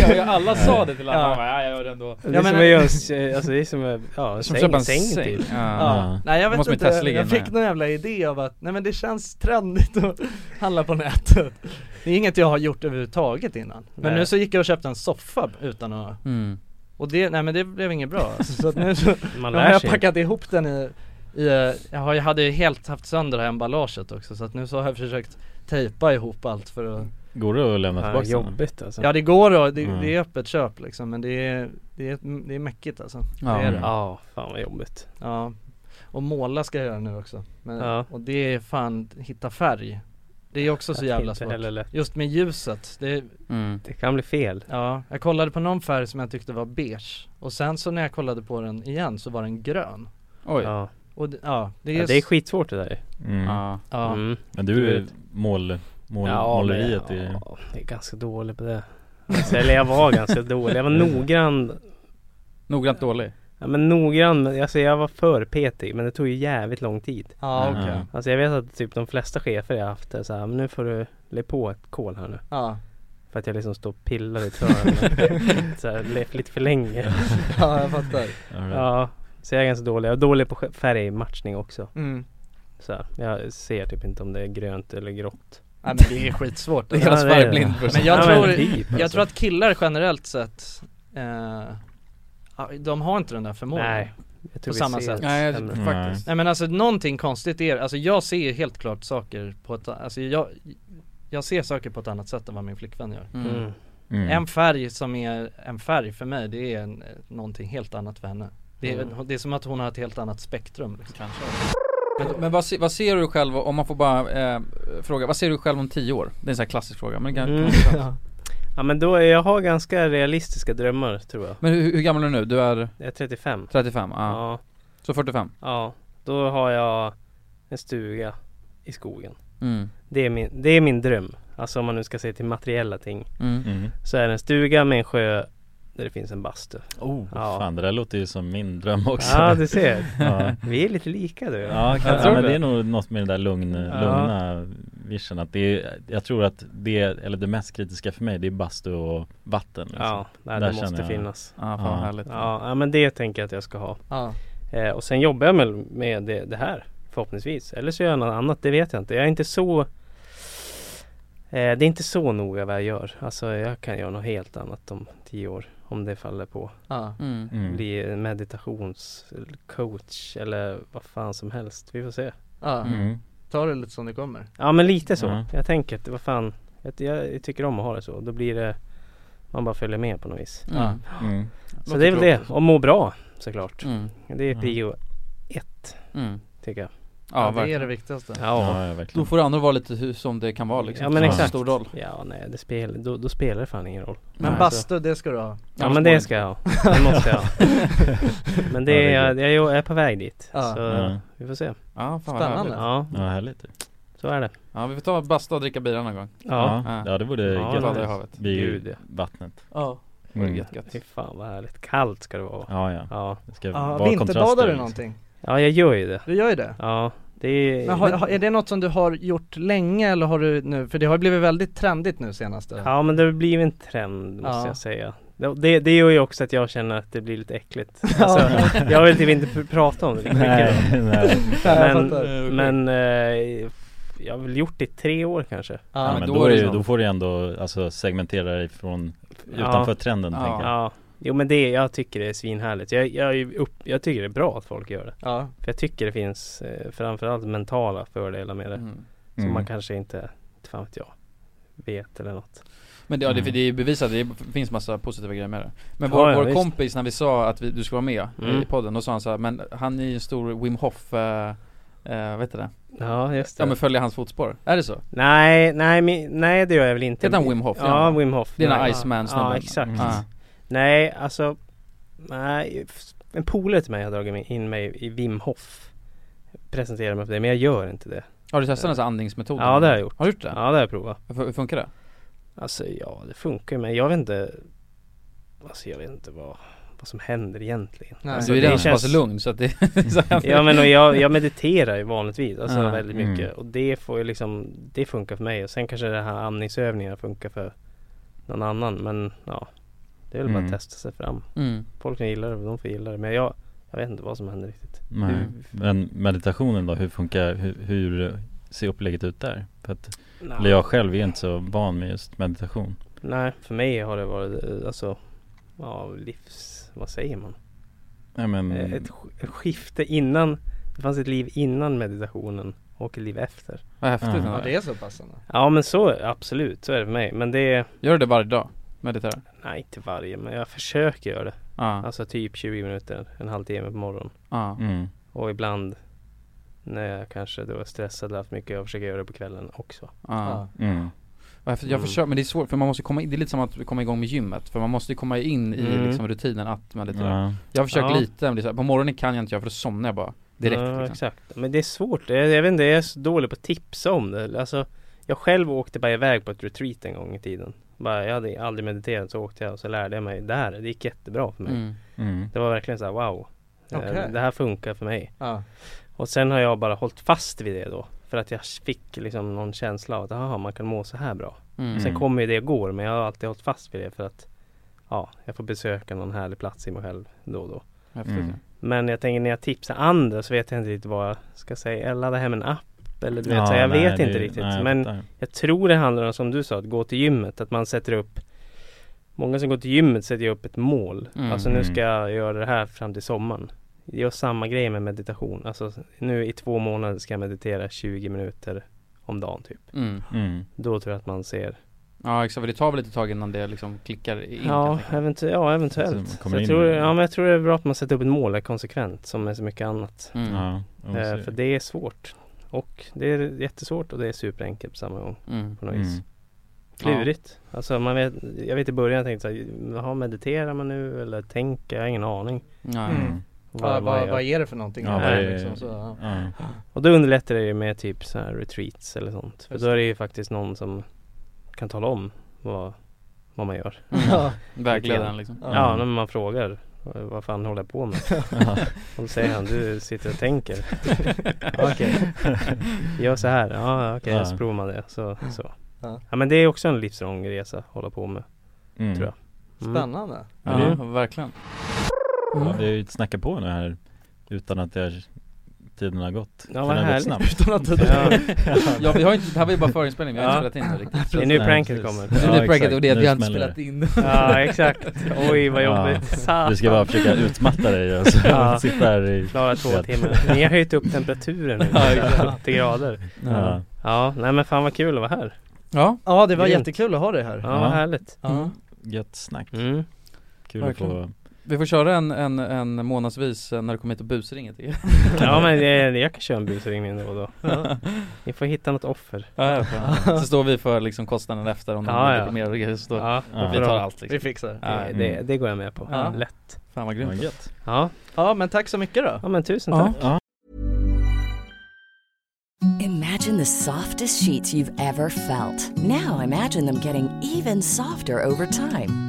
Speaker 3: Nej.
Speaker 1: alla sa det till
Speaker 3: alla. Han
Speaker 1: ja jag gör det ändå
Speaker 2: Det är
Speaker 3: Jag
Speaker 2: som
Speaker 3: menar-
Speaker 2: att göra en s- alltså det är som att, ja, en
Speaker 1: Som
Speaker 2: säng,
Speaker 1: köpa
Speaker 2: en
Speaker 1: en säng,
Speaker 2: säng typ.
Speaker 1: ja.
Speaker 3: ja.
Speaker 4: Ja.
Speaker 3: Nej jag vet
Speaker 1: Måste man
Speaker 3: inte,
Speaker 1: testa ligga
Speaker 3: jag
Speaker 1: med.
Speaker 3: fick någon jävla idé av att, nej men det känns trendigt att handla på nätet Det är inget jag har gjort överhuvudtaget innan Men
Speaker 2: Nej.
Speaker 3: nu så gick jag och köpte en soffa utan att,
Speaker 1: Mm.
Speaker 3: och det, nej men det blev inget bra alltså, så att nu så
Speaker 2: Man
Speaker 3: Nu har
Speaker 2: lär
Speaker 3: jag
Speaker 2: sig.
Speaker 3: packat ihop den i, i eh, jag, har, jag hade ju helt haft sönder det här emballaget också så att nu så har jag försökt tejpa ihop allt för att
Speaker 4: Går det att lämna
Speaker 2: Ja,
Speaker 4: tillbaka den?
Speaker 2: jobbigt alltså.
Speaker 3: Ja det går och det,
Speaker 4: Mm.
Speaker 3: det är öppet köp liksom men det är, det är, det är mäckigt alltså
Speaker 1: Ja.
Speaker 3: Det är det.
Speaker 2: Ja, fan vad jobbigt.
Speaker 3: Ja Och måla ska jag göra nu också men,
Speaker 2: Ja.
Speaker 3: Och det är fan, hitta färg Det är också så
Speaker 2: Jag
Speaker 3: jävla
Speaker 2: tänkte
Speaker 3: svårt
Speaker 2: heller lätt.
Speaker 3: Just med ljuset, det,
Speaker 1: Mm.
Speaker 2: Det kan bli fel.
Speaker 3: ja Jag kollade på någon färg som jag tyckte var beige Och sen så när jag kollade på den igen så var den grön
Speaker 1: Oj ja.
Speaker 2: Ja.
Speaker 3: Och det, ja, det är,
Speaker 2: ja, det är skitsvårt det där
Speaker 4: Mm.
Speaker 3: ja.
Speaker 2: Mm.
Speaker 4: Men du är mål, mål måleriet
Speaker 2: men,
Speaker 4: är...
Speaker 2: ja, jag är ganska dålig på det. Mm. Alltså, eller jag var ganska dålig. Jag var noggrann.
Speaker 1: Noggrant dålig
Speaker 2: Ja, men noggrann, men alltså jag var för petig men det tog ju jävligt lång tid.
Speaker 3: Ja okej,
Speaker 4: Ja.
Speaker 2: Alltså jag vet att typ de flesta chefer jag haft är så här, men nu får du lägga på ett kol här nu.
Speaker 3: ja,
Speaker 2: För att jag liksom står och pillar i ett hörn så här, le- lite för länge.
Speaker 3: ja jag fattar
Speaker 4: All right.
Speaker 2: Ja, så jag är ganska dålig. Jag är dålig på sk- färgmatchning också.
Speaker 3: Mm.
Speaker 2: Så här, jag ser typ inte om det är grönt eller grått.
Speaker 3: Nej men det är skitsvårt
Speaker 1: Det kallas
Speaker 2: Ja, det är det.
Speaker 1: färgblind för
Speaker 3: Men jag
Speaker 2: Ja,
Speaker 3: tror,
Speaker 2: typ,
Speaker 3: jag
Speaker 2: alltså.
Speaker 3: tror att killar generellt sett eh, ja, De har inte den där förmågan
Speaker 2: Nej, jag tror
Speaker 3: På
Speaker 2: vi
Speaker 3: samma
Speaker 2: ser
Speaker 3: sätt.
Speaker 1: Nej jag-
Speaker 2: sämre.
Speaker 1: faktiskt
Speaker 3: Nej men alltså någonting konstigt är Alltså jag ser ju helt klart saker på ett Alltså jag Jag ser saker på ett annat sätt än vad min flickvän gör
Speaker 1: mm.
Speaker 2: Mm.
Speaker 4: Mm.
Speaker 3: En färg som är en färg för mig det är en, någonting helt annat för henne det är, det är som att hon har ett helt annat spektrum liksom.
Speaker 1: Men, men vad, se, vad ser du själv, om man får bara eh, fråga, vad ser du själv om tio år? Det är en sån här klassisk fråga men, det kan,
Speaker 2: Mm. Ja men då, är- jag har ganska realistiska drömmar tror jag.
Speaker 1: men hur, hur gammal är du nu? Du är
Speaker 2: Jag är 35.
Speaker 1: 35? Ja.
Speaker 2: Ja.
Speaker 1: Så 45?
Speaker 2: ja, då har jag en stuga i skogen.
Speaker 1: Mm.
Speaker 2: Det är min, det är min dröm. Alltså om man nu ska se till materiella ting.
Speaker 1: Mm.
Speaker 4: Mm.
Speaker 2: Så är det en stuga med en sjö där det finns en bastu.
Speaker 4: Oh,
Speaker 2: Ja.
Speaker 4: fan det där låter ju som min dröm också
Speaker 2: Ja du ser,
Speaker 4: Ja.
Speaker 2: vi är lite lika du
Speaker 4: Ja, kan,
Speaker 2: Jag
Speaker 4: ja
Speaker 2: tror
Speaker 4: men
Speaker 2: det.
Speaker 4: det är nog något med den där lugn,
Speaker 2: Ja.
Speaker 4: lugna vision att det är, Jag tror att det, eller det mest kritiska för mig det är bastu och vatten liksom.
Speaker 2: Ja, nej,
Speaker 4: Där
Speaker 2: det måste
Speaker 4: känner jag-
Speaker 2: finnas
Speaker 1: Ja, fan vad härligt
Speaker 2: ja, ja men det tänker jag att jag ska ha
Speaker 3: Ja.
Speaker 2: eh, Och sen jobbar jag med, med det, det här förhoppningsvis Eller så gör jag något annat, det vet jag inte Jag är inte så eh, Det är inte så noga vad jag gör Alltså jag kan göra något helt annat om tio år Om det faller på
Speaker 3: Ja.
Speaker 1: Mm.
Speaker 4: Mm.
Speaker 2: Bli en meditationscoach eller vad fan som helst Vi får se
Speaker 3: ja.
Speaker 4: Mm.
Speaker 3: Ta det lite som det kommer
Speaker 2: Ja men lite så.
Speaker 4: Ja.
Speaker 2: Jag tänker att vad fan. Jag, jag tycker om att ha det så. Då blir det man bara följer med på något vis.
Speaker 1: Mm.
Speaker 4: Mm.
Speaker 2: Så det är väl det. Och må bra såklart.
Speaker 1: Mm.
Speaker 2: Det är prio ett
Speaker 1: Mm.
Speaker 2: tycker jag.
Speaker 1: Ja,
Speaker 3: ja, Det är
Speaker 1: verkligen.
Speaker 3: det viktigaste
Speaker 2: Ja.
Speaker 4: Ja, ja
Speaker 1: Då
Speaker 4: verkligen
Speaker 1: får det andra vara lite hur som det kan vara liksom.
Speaker 2: Ja, men
Speaker 1: Det är
Speaker 2: exakt.
Speaker 1: Stor roll.
Speaker 2: Ja nej det spel, då, då spelar det fan ingen roll.
Speaker 3: Men
Speaker 2: Nej,
Speaker 3: bastu, det ska du ha
Speaker 2: Ja men det ska jag ha. Det måste jag ha. Men det är, jag,
Speaker 4: Herregud.
Speaker 2: jag är på väg dit.
Speaker 3: Ja.
Speaker 2: Så
Speaker 4: Ja.
Speaker 2: vi får se.
Speaker 1: Ja, fan vad
Speaker 3: Spännande.
Speaker 1: härligt.
Speaker 2: Ja
Speaker 4: Ja härligt
Speaker 2: så är det.
Speaker 1: Ja, vi får ta basta och dricka bira någon gång.
Speaker 2: Ja.
Speaker 4: Ja, ja det vore
Speaker 2: Ja,
Speaker 4: gött
Speaker 2: det
Speaker 1: hade jag havet.
Speaker 4: Vid
Speaker 2: Gud, ja.
Speaker 4: vattnet
Speaker 1: Ja.
Speaker 4: Mm.
Speaker 1: Gött, gött.
Speaker 2: Fy fan vad härligt. Kallt ska det vara.
Speaker 4: Ja ja,
Speaker 2: Ja.
Speaker 4: det ska
Speaker 3: Ja,
Speaker 4: vara
Speaker 3: vinterbadar
Speaker 4: kontraster,
Speaker 3: du
Speaker 4: liksom.
Speaker 3: någonting?
Speaker 2: Ja jag gör ju det.
Speaker 3: Du gör ju det
Speaker 2: Ja. Det är...
Speaker 3: men har, har- är det något som du har gjort länge eller har du nu, för det har ju blivit väldigt trendigt nu senaste
Speaker 2: Ja men det har blivit en trend måste
Speaker 3: Ja.
Speaker 2: jag säga det, det, det gör ju också att jag känner att det blir lite äckligt alltså, Jag vill typ inte pr- prata om det lika mycket
Speaker 4: Nej, nej
Speaker 2: Men,
Speaker 1: Eh, okej.
Speaker 2: men eh, jag har väl gjort det i tre år kanske
Speaker 4: Ja,
Speaker 1: Ja,
Speaker 4: men
Speaker 1: men
Speaker 4: då,
Speaker 1: då
Speaker 4: är
Speaker 1: är
Speaker 4: det,
Speaker 1: det
Speaker 4: ju-
Speaker 1: så.
Speaker 4: då får du ändå alltså, segmentera dig från
Speaker 2: Ja.
Speaker 4: utanför trenden
Speaker 1: Ja.
Speaker 4: tänker jag.
Speaker 2: Ja Jo men det, jag tycker det är svinhärligt jag, jag, är ju upp, jag tycker det är bra att folk gör det
Speaker 3: Ja,
Speaker 2: För jag tycker det finns eh, framförallt mentala fördelar med det
Speaker 1: Mm.
Speaker 2: Som
Speaker 4: Mm.
Speaker 2: man kanske inte, inte fan vet jag Vet eller något
Speaker 1: Men det, ja, det,
Speaker 4: Mm.
Speaker 1: det är bevisat, det är- finns massa positiva grejer med det Men
Speaker 2: Ja,
Speaker 1: vår,
Speaker 2: ja,
Speaker 1: vår
Speaker 2: visst.
Speaker 1: kompis när vi sa att vi, du skulle vara med
Speaker 2: Mm.
Speaker 1: i podden, då sa han så här, men han är ju en stor Wim Hof, eh, eh, vad heter det?
Speaker 2: Ja just det
Speaker 1: Ja men följa hans fotspår, är det så?
Speaker 2: Nej, nej, men- nej det gör jag väl inte
Speaker 1: Heter han Wim Hof?
Speaker 2: Ja, Wim Hof
Speaker 1: Det är den här
Speaker 2: Nej.
Speaker 1: Iceman-snubben
Speaker 2: Ja, exakt
Speaker 4: Mm.
Speaker 1: Ah.
Speaker 2: Nej, alltså Nej, f- en polare till mig har dragit mig- in mig i Wim Hof Presenterar mig för det, men jag gör inte det
Speaker 1: Har du testat den här andningsmetoden?
Speaker 2: Ja, det har jag gjort
Speaker 1: Har du gjort
Speaker 2: Ja,
Speaker 1: det?
Speaker 2: det har jag provat
Speaker 1: Hur hur funkar det?
Speaker 2: Alltså ja, det funkar ju, men jag vet inte Alltså jag vet inte vad, vad som händer egentligen Alltså,
Speaker 3: nej
Speaker 1: du Alltså, är
Speaker 2: det
Speaker 1: redan så pass
Speaker 2: känns-
Speaker 1: lugn så att det så här-
Speaker 2: Ja men och jag, jag mediterar ju vanligtvis, alltså
Speaker 1: Ja.
Speaker 2: väldigt
Speaker 4: Mm.
Speaker 2: mycket Och det får ju liksom, det funkar för mig och sen kanske det här andningsövningarna funkar för någon annan men ja Det är väl bara
Speaker 4: Mm.
Speaker 2: att testa sig fram
Speaker 1: mm.
Speaker 2: Folk som gillar det, de får gilla det men jag, jag vet inte vad som händer riktigt
Speaker 4: Nej.
Speaker 2: Du-
Speaker 4: Men meditationen då, hur funkar, hur, hur ser upplägget ut där? För att, eller jag själv är inte så van med just meditation
Speaker 2: Nej, för mig har det varit eh, alltså Ja, livs... Vad säger man?
Speaker 4: Nej men,
Speaker 1: Mm.
Speaker 2: Eh, Ett, sk- ett skifte innan Det fanns ett liv innan meditationen och ett liv efter
Speaker 1: Vad häftigt
Speaker 4: Ja.
Speaker 1: ändå.
Speaker 3: Ja det är så pass ändå.
Speaker 2: Ja men så, absolut, så är det för mig Men det
Speaker 1: Gör du det varje dag? Mediterar?
Speaker 2: Nej inte varje, men jag försöker göra det
Speaker 1: Ja,
Speaker 2: Alltså typ 20 minuter, en halvtimme på morgonen
Speaker 1: ja,
Speaker 4: mm,
Speaker 2: Och ibland När jag kanske då är stressad eller haft mycket, jag försöker göra det på kvällen också
Speaker 1: ja.
Speaker 3: Ja.
Speaker 4: mm,
Speaker 1: Vad häftigt. Jag
Speaker 2: Mm.
Speaker 1: försöker, men det är svårt för man måste komma in, det är lite som att komma igång med gymmet För man måste ju komma in i
Speaker 2: Mm.
Speaker 1: liksom rutinen att meditera
Speaker 4: ja,
Speaker 1: Jag har försökt
Speaker 2: Ja.
Speaker 1: lite, men det är så här, på morgonen kan jag inte göra för då somnar jag bara direkt
Speaker 2: ja,
Speaker 1: liksom.
Speaker 2: exakt Men det är svårt, jag, jag vet inte, jag är så dålig på att tipsa om det Alltså Jag själv åkte bara iväg på ett retreat en gång i tiden bara, Jag hade aldrig mediterat så åkte jag och så lärde jag mig det här Det gick jättebra för mig
Speaker 1: Mm.
Speaker 4: mm,
Speaker 2: Det var verkligen så här: wow Eh,
Speaker 3: Okej.
Speaker 2: Det här funkar för mig
Speaker 3: Ja,
Speaker 2: Och sen har jag bara hållit fast vid det då För att jag fick liksom någon känsla av att aha, man kan må så här bra
Speaker 1: Mm.
Speaker 2: Sen kommer ju det och går men jag har alltid hållit fast vid det för att Ja, jag får besöka någon härlig plats i mig själv då och då
Speaker 1: Häftigt.
Speaker 4: Mm.
Speaker 2: men jag tänker när jag tipsar andra så vet jag inte riktigt vad jag ska säga. Jag laddar hem en app eller du vet
Speaker 4: Ja,
Speaker 2: så här, jag
Speaker 4: nej,
Speaker 2: vet
Speaker 4: det-
Speaker 2: inte riktigt.
Speaker 4: nej, jag
Speaker 2: men
Speaker 4: fattar.
Speaker 2: jag tror det handlar om som du sa, att gå till gymmet. Att man sätter upp Många som går till gymmet sätter ju upp ett mål.
Speaker 1: Mm.
Speaker 2: Alltså nu ska jag göra det här fram till sommaren. Jag gör samma grej med meditation. Alltså nu i två månader ska jag meditera 20 minuter om dagen typ.
Speaker 1: Mm.
Speaker 4: mm,
Speaker 2: Då tror jag att man ser
Speaker 1: Ja exakt, för det tar väl lite tag innan det liksom klickar in
Speaker 2: Ja,
Speaker 1: helt enkelt.
Speaker 2: eventu- ja
Speaker 4: Så Alltså, man
Speaker 2: eventuellt. Så
Speaker 4: kommer in
Speaker 2: jag, tror,
Speaker 4: i det.
Speaker 2: ja, men jag tror det är bra att man sätter upp ett mål är konsekvent som med så mycket annat.
Speaker 1: mm.
Speaker 4: ja, och
Speaker 2: Eh,
Speaker 4: så-
Speaker 2: för det är svårt. Och det är jättesvårt och det är superenkelt på samma gång
Speaker 1: Mm.
Speaker 2: på något
Speaker 4: Mm.
Speaker 2: vis. Klurigt. Alltså man vet, jag vet i början jag tänkte såhär, jaha mediterar man nu eller tänker? Jag har ingen aning.
Speaker 1: Nej.
Speaker 3: Mm. vad, vad,
Speaker 2: jag
Speaker 3: vad,
Speaker 2: gör.
Speaker 3: är det för någonting?
Speaker 4: Ja,
Speaker 3: det
Speaker 2: vad
Speaker 3: här,
Speaker 2: är
Speaker 4: det?
Speaker 3: liksom, så, ja.
Speaker 4: ja,
Speaker 2: Och då underlättar det ju med typ så här retreats eller sånt. För
Speaker 3: Just
Speaker 2: då är det ju faktiskt någon som kan tala om vad, vad man gör
Speaker 1: Ja.
Speaker 2: Lite
Speaker 1: Vägledaren,
Speaker 2: grann.
Speaker 1: liksom.
Speaker 3: Mm.
Speaker 2: Ja, när man frågar eh, vad fan håller jag på med? Och då säger han, du sitter och tänker Okej Gör så här, ja okej,
Speaker 4: Ja.
Speaker 2: så provar man det så, så.
Speaker 3: Ja.
Speaker 2: Ja men det är också en livslång resa att hålla på med
Speaker 4: Mm.
Speaker 2: Tror jag Mm.
Speaker 3: Spännande
Speaker 1: Ja, verkligen
Speaker 4: Ja, vi har ju snackat på nu här utan att det har, tiden har gått
Speaker 2: Ja,
Speaker 4: Den
Speaker 2: vad
Speaker 4: har gått
Speaker 2: härligt.
Speaker 4: snabbt
Speaker 3: Utan att det
Speaker 2: Ja.
Speaker 1: Ja vi har inte, det här var ju bara förinspelning, vi har
Speaker 2: Ja.
Speaker 1: inte spelat in det riktigt
Speaker 2: Det är nu
Speaker 4: Nej,
Speaker 2: pranket
Speaker 4: precis.
Speaker 2: kommer
Speaker 4: Ja,
Speaker 1: Det är pranket
Speaker 4: exakt.
Speaker 1: och det är att
Speaker 4: Nu
Speaker 1: vi har inte
Speaker 4: smäller det.
Speaker 1: spelat in
Speaker 2: Ja exakt, oj vad
Speaker 4: Ja.
Speaker 2: jobbigt
Speaker 4: Du ska bara försöka utmatta dig och så
Speaker 2: Ja.
Speaker 4: sitta här i
Speaker 2: Klara två timmar, ni har höjt upp temperaturen nu
Speaker 1: Ja, exakt.
Speaker 2: 70 grader
Speaker 4: Ja.
Speaker 2: Ja, nej men fan vad kul att vara här
Speaker 1: Ja, Mm.
Speaker 3: Ja det var
Speaker 2: Grymt.
Speaker 3: jättekul att ha dig här
Speaker 2: Ja, vad
Speaker 4: Ja.
Speaker 2: härligt
Speaker 3: Ja,
Speaker 4: Gött snack,
Speaker 2: mm.
Speaker 4: kul
Speaker 1: Verkligen.
Speaker 4: att få
Speaker 1: vi får köra en, en, en månadsvis eh, när du kommer hit och busringer till
Speaker 2: Ja men jag, jag kan köra en busringning då och då Ni får hitta något offer
Speaker 1: Ja, ja, fan. Så står vi för liksom kostnaden efter om
Speaker 2: Ja,
Speaker 1: de
Speaker 2: ja.
Speaker 1: vill mer och grejer så står
Speaker 2: Ja,
Speaker 4: Ja.
Speaker 1: Vi tar allt liksom.
Speaker 3: vi fixar det
Speaker 1: Ja,
Speaker 2: det, det, det går jag med på,
Speaker 1: Ja.
Speaker 2: lätt
Speaker 1: Fan
Speaker 4: Vad
Speaker 1: vad grymt
Speaker 4: gött
Speaker 2: Ja,
Speaker 3: Ja men tack så mycket då
Speaker 2: ja men tusen
Speaker 1: Ja.
Speaker 2: tack
Speaker 4: Ja,
Speaker 8: Imagine the softest sheets you've ever felt. Now imagine them getting even softer over time.